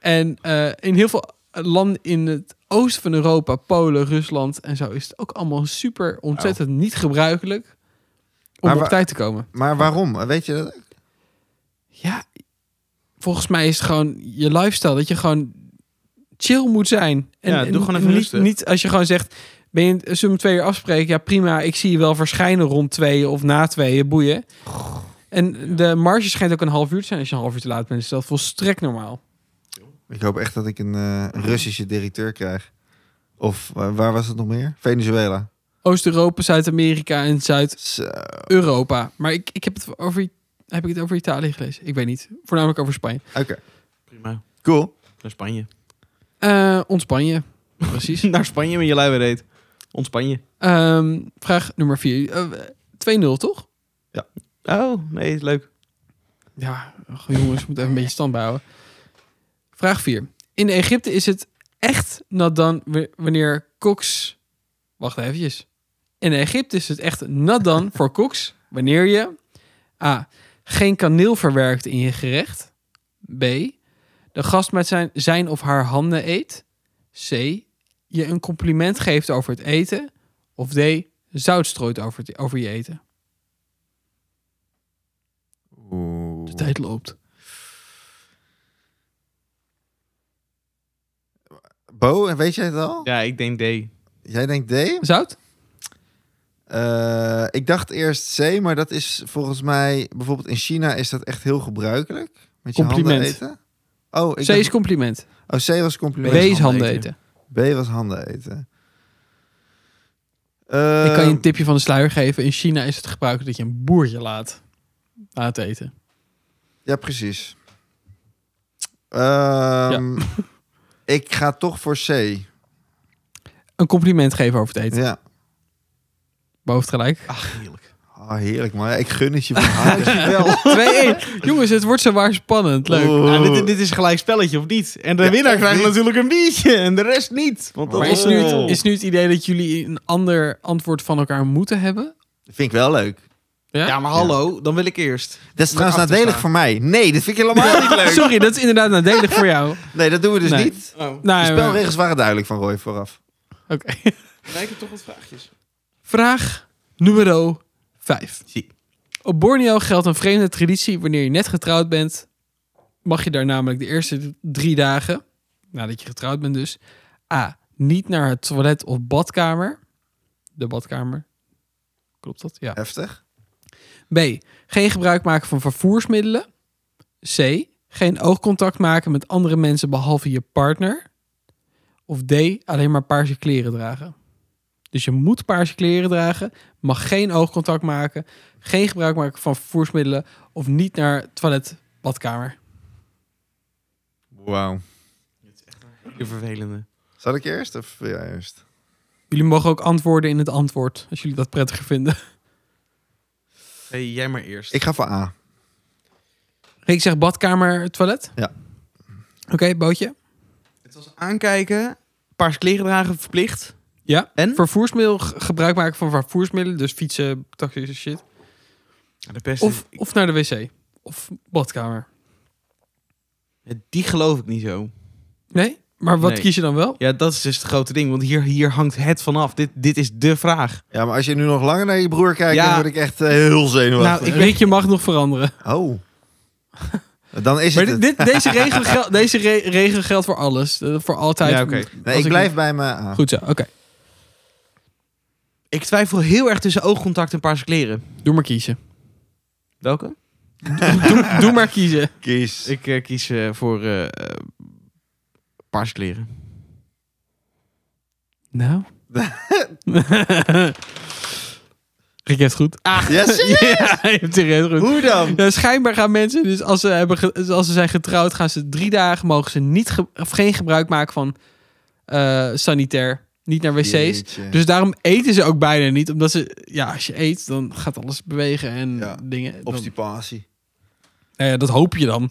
S2: En eh, in heel veel landen in het oosten van Europa, Polen, Rusland en zo, is het ook allemaal super ontzettend niet gebruikelijk om
S4: Maar
S2: op
S4: wa-
S2: tijd te komen.
S4: Maar waarom? Weet je dat? ook?
S2: Ja, volgens mij is het gewoon je lifestyle dat je gewoon chill moet zijn. En,
S1: Ja, doe
S2: en
S1: gewoon even
S2: niet,
S1: rustig.
S2: niet als je gewoon zegt, ben je zullen we om twee uur afspreken? Ja, prima, ik zie je wel verschijnen rond tweeën of na tweeën, boeien. En de marge schijnt ook een half uur te zijn als je een half uur te laat bent. Dus dat is volstrekt normaal.
S4: Ik hoop echt dat ik een eh, Russische directeur krijg. Of eh, waar was het nog meer? Venezuela. eh,
S2: Oost-Europa, Zuid-Amerika en Zuid-Europa.
S4: Zo.
S2: Maar ik, ik heb, het over, heb ik het over Italië gelezen? Ik weet niet. Voornamelijk over Spanje.
S4: Oké,
S1: Prima.
S4: cool.
S1: Naar Spanje.
S2: Eh ontspan je. Precies.
S1: Naar Spanje met je luie reet. Ontspan je.
S2: Ehm, vraag nummer 4. 2-0, toch?
S1: Oh, nee, leuk.
S2: Ja, goh, jongens, we moeten even een beetje stand houden. Vraag 4. In Egypte is het echt nat dan w- wanneer koks... Wacht eventjes. In Egypte is het echt nat dan voor koks wanneer je... A. Geen kaneel verwerkt in je gerecht. B. De gast met zijn, zijn of haar handen eet. C. Je een compliment geeft over het eten. Of D. Zout strooit over, het- over je eten.
S4: Oeh.
S2: De tijd loopt.
S4: Bo, weet jij het al?
S1: Ja, ik denk D.
S4: Jij denkt D?
S2: Zout?
S4: Eh, ik dacht eerst C, maar dat is volgens mij... Bijvoorbeeld in China is dat echt heel gebruikelijk. Met je handen
S2: Compliment.
S4: eten. Oh, ik
S2: C is
S4: dacht-
S2: compliment.
S4: oh, C was
S2: B
S4: compliment.
S2: is handen eten.
S4: B was handen eten. Ehm, Eh,
S2: Ik kan je een tipje van de sluier geven. In China is het gebruikelijk dat je een boertje laat laat eten.
S4: Ja, precies. Ehm, ik ga toch voor C.
S2: Een compliment geven over het eten.
S4: Ja.
S2: Boven gelijk.
S4: Oh, heerlijk man. Ik gun het je van harte.
S1: Wel.
S2: 2-1. Jongens, het wordt zo waar spannend. Leuk.
S4: Oeh.
S1: Ja, Nou, dit, dit is gelijk spelletje, of niet? En de
S4: Ja,
S1: winnaar
S4: of
S1: krijgt
S4: niet.
S1: natuurlijk een biertje en de rest niet. Want dat
S2: Maar is nu, het, is nu het idee dat jullie een ander antwoord van elkaar moeten hebben?
S4: Vind ik wel leuk.
S1: Ja, maar hallo, dan wil ik eerst.
S4: Dat is trouwens
S1: af te
S4: nadelig
S1: slaan.
S4: voor mij. Nee, dat vind ik helemaal niet leuk.
S2: Sorry, dat is inderdaad nadelig voor jou.
S4: Nee, dat doen we dus
S2: Nee.
S4: niet.
S2: Nou,
S4: De
S2: ja,
S4: spelregels waren duidelijk van Roy vooraf.
S2: Oké.
S1: Lijken toch wat vraagjes.
S2: Vraag nummer 5.
S1: Zie.
S2: Op Borneo geldt een vreemde traditie. Wanneer je net getrouwd bent, mag je daar namelijk de eerste drie dagen, nadat je getrouwd bent dus, A. Niet naar het toilet of badkamer. De badkamer. Klopt dat? Ja.
S4: Heftig.
S2: B. Geen gebruik maken van vervoersmiddelen. C. Geen oogcontact maken met andere mensen behalve je partner. Of D, alleen maar paarse kleren dragen. Dus je moet paarse kleren dragen, mag geen oogcontact maken, geen gebruik maken van vervoersmiddelen of niet naar toilet, badkamer.
S4: Wauw.
S1: Je vervelende.
S4: Zal ik eerst of wil jij eerst?
S2: Jullie mogen ook antwoorden in het antwoord, als jullie dat prettiger vinden.
S1: Hey, jij maar eerst.
S4: Ik ga voor A.
S2: Ik zeg badkamer, toilet?
S4: Ja.
S2: Oké, bootje.
S1: Het was aankijken, paars kleren dragen verplicht.
S2: Ja.
S1: En?
S2: Vervoersmiddel, g- gebruik maken van vervoersmiddelen, dus fietsen, taxis en shit.
S1: De beste.
S2: Of, of naar de wc. Of badkamer.
S1: Die geloof ik niet zo.
S2: Nee? Maar wat
S1: Nee.
S2: kies je dan wel?
S1: Ja, dat is dus het grote ding, want hier, hier hangt het vanaf. Dit, dit is de vraag.
S4: Ja, maar als je nu nog langer naar je broer kijkt,
S1: Ja.
S4: dan word ik echt eh, heel
S1: Nou,
S4: zenuwachtig.
S1: ik
S2: Rick, je mag nog veranderen.
S4: Oh. Dan is
S2: Maar
S4: het
S2: dit,
S4: het.
S2: dit- deze, regel gel- deze re- regel geldt voor alles. Eh, Voor altijd.
S1: Ja, oké.
S2: Als
S4: Nee, ik blijf bij ah. me A.
S2: Goed zo, oké.
S1: Ik twijfel heel erg tussen oogcontact en paarse kleren.
S2: Doe maar kiezen.
S1: Welke?
S2: Doe, doe maar kiezen.
S4: Kies.
S1: Ik eh, kies eh, voor eh eh, paarse kleren.
S2: Nou. Rick heeft goed. Ah,
S4: Ja, serieus?
S2: ja, je hebt die reden goed.
S4: Hoe dan?
S2: Ja, schijnbaar gaan mensen, dus als ze, hebben ge- dus als ze zijn getrouwd, gaan ze drie dagen, mogen ze niet ge- of geen gebruik maken van eh, sanitair. Niet naar wc's.
S4: Jeetje.
S2: Dus daarom eten ze ook bijna niet. Omdat ze, ja, als je eet, dan gaat alles bewegen en
S4: Ja,
S2: dingen. Dan-
S4: Obstipatie.
S2: nou ja, dat hoop je dan.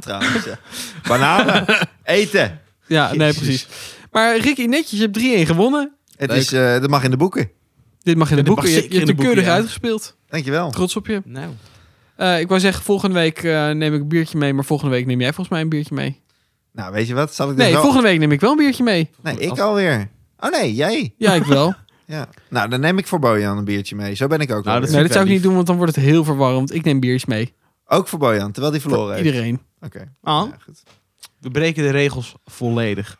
S4: Trouwens, ja. Bananen. Eten.
S2: Ja, nee,
S4: Jezus.
S2: precies. Maar Ricky, netjes, je hebt 3-1 gewonnen.
S4: Het is, eh, dat mag in de boeken.
S2: Dit mag in de
S1: dit mag
S2: boeken. Je,
S1: zeker
S2: je hebt
S1: in de
S2: er
S1: boeken,
S2: keurig
S1: ja.
S2: uitgespeeld.
S4: Dankjewel.
S2: Trots op je.
S1: Nou,
S2: Eh, ik wou zeggen, volgende week eh, neem ik een biertje mee. Maar volgende week neem jij volgens mij een biertje mee.
S4: Nou, weet je wat? Zal ik dus
S2: Nee,
S4: wel-
S2: volgende week neem ik wel een biertje mee.
S4: Nee, ik alweer. Oh nee, jij.
S2: Ja, ik wel.
S4: Ja. Nou, dan neem ik voor Bojan een biertje mee. Zo ben ik
S1: Nou,
S4: ook wel
S1: dat
S2: Nee,
S4: weer.
S2: dat zou ik niet doen, want dan wordt het heel verwarrend. Ik neem biertjes mee.
S4: Ook voor Bojan, terwijl die verloren
S2: Voor
S4: heeft.
S2: iedereen.
S4: Oké.
S1: Ah.
S4: Ja, goed.
S1: we breken de regels volledig.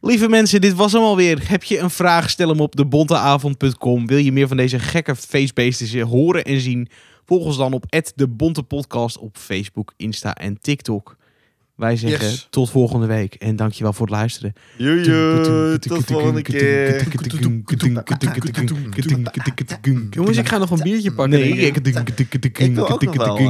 S1: Lieve mensen, dit was hem alweer. Heb je een vraag, stel hem op debonteavond.com. Wil je meer van deze gekke feestbeesten ze- horen en zien? Volg ons dan op @debontepodcast op Facebook, Insta en TikTok. Wij zeggen
S2: Yes.
S1: tot volgende week en dankjewel voor het luisteren.
S4: Joe, joe, tot volgende keer.
S2: Jongens, ik ga nog een biertje pakken.
S1: Nee,
S2: denk ik.
S1: ik-
S4: Ik wil ook nog wel, eh,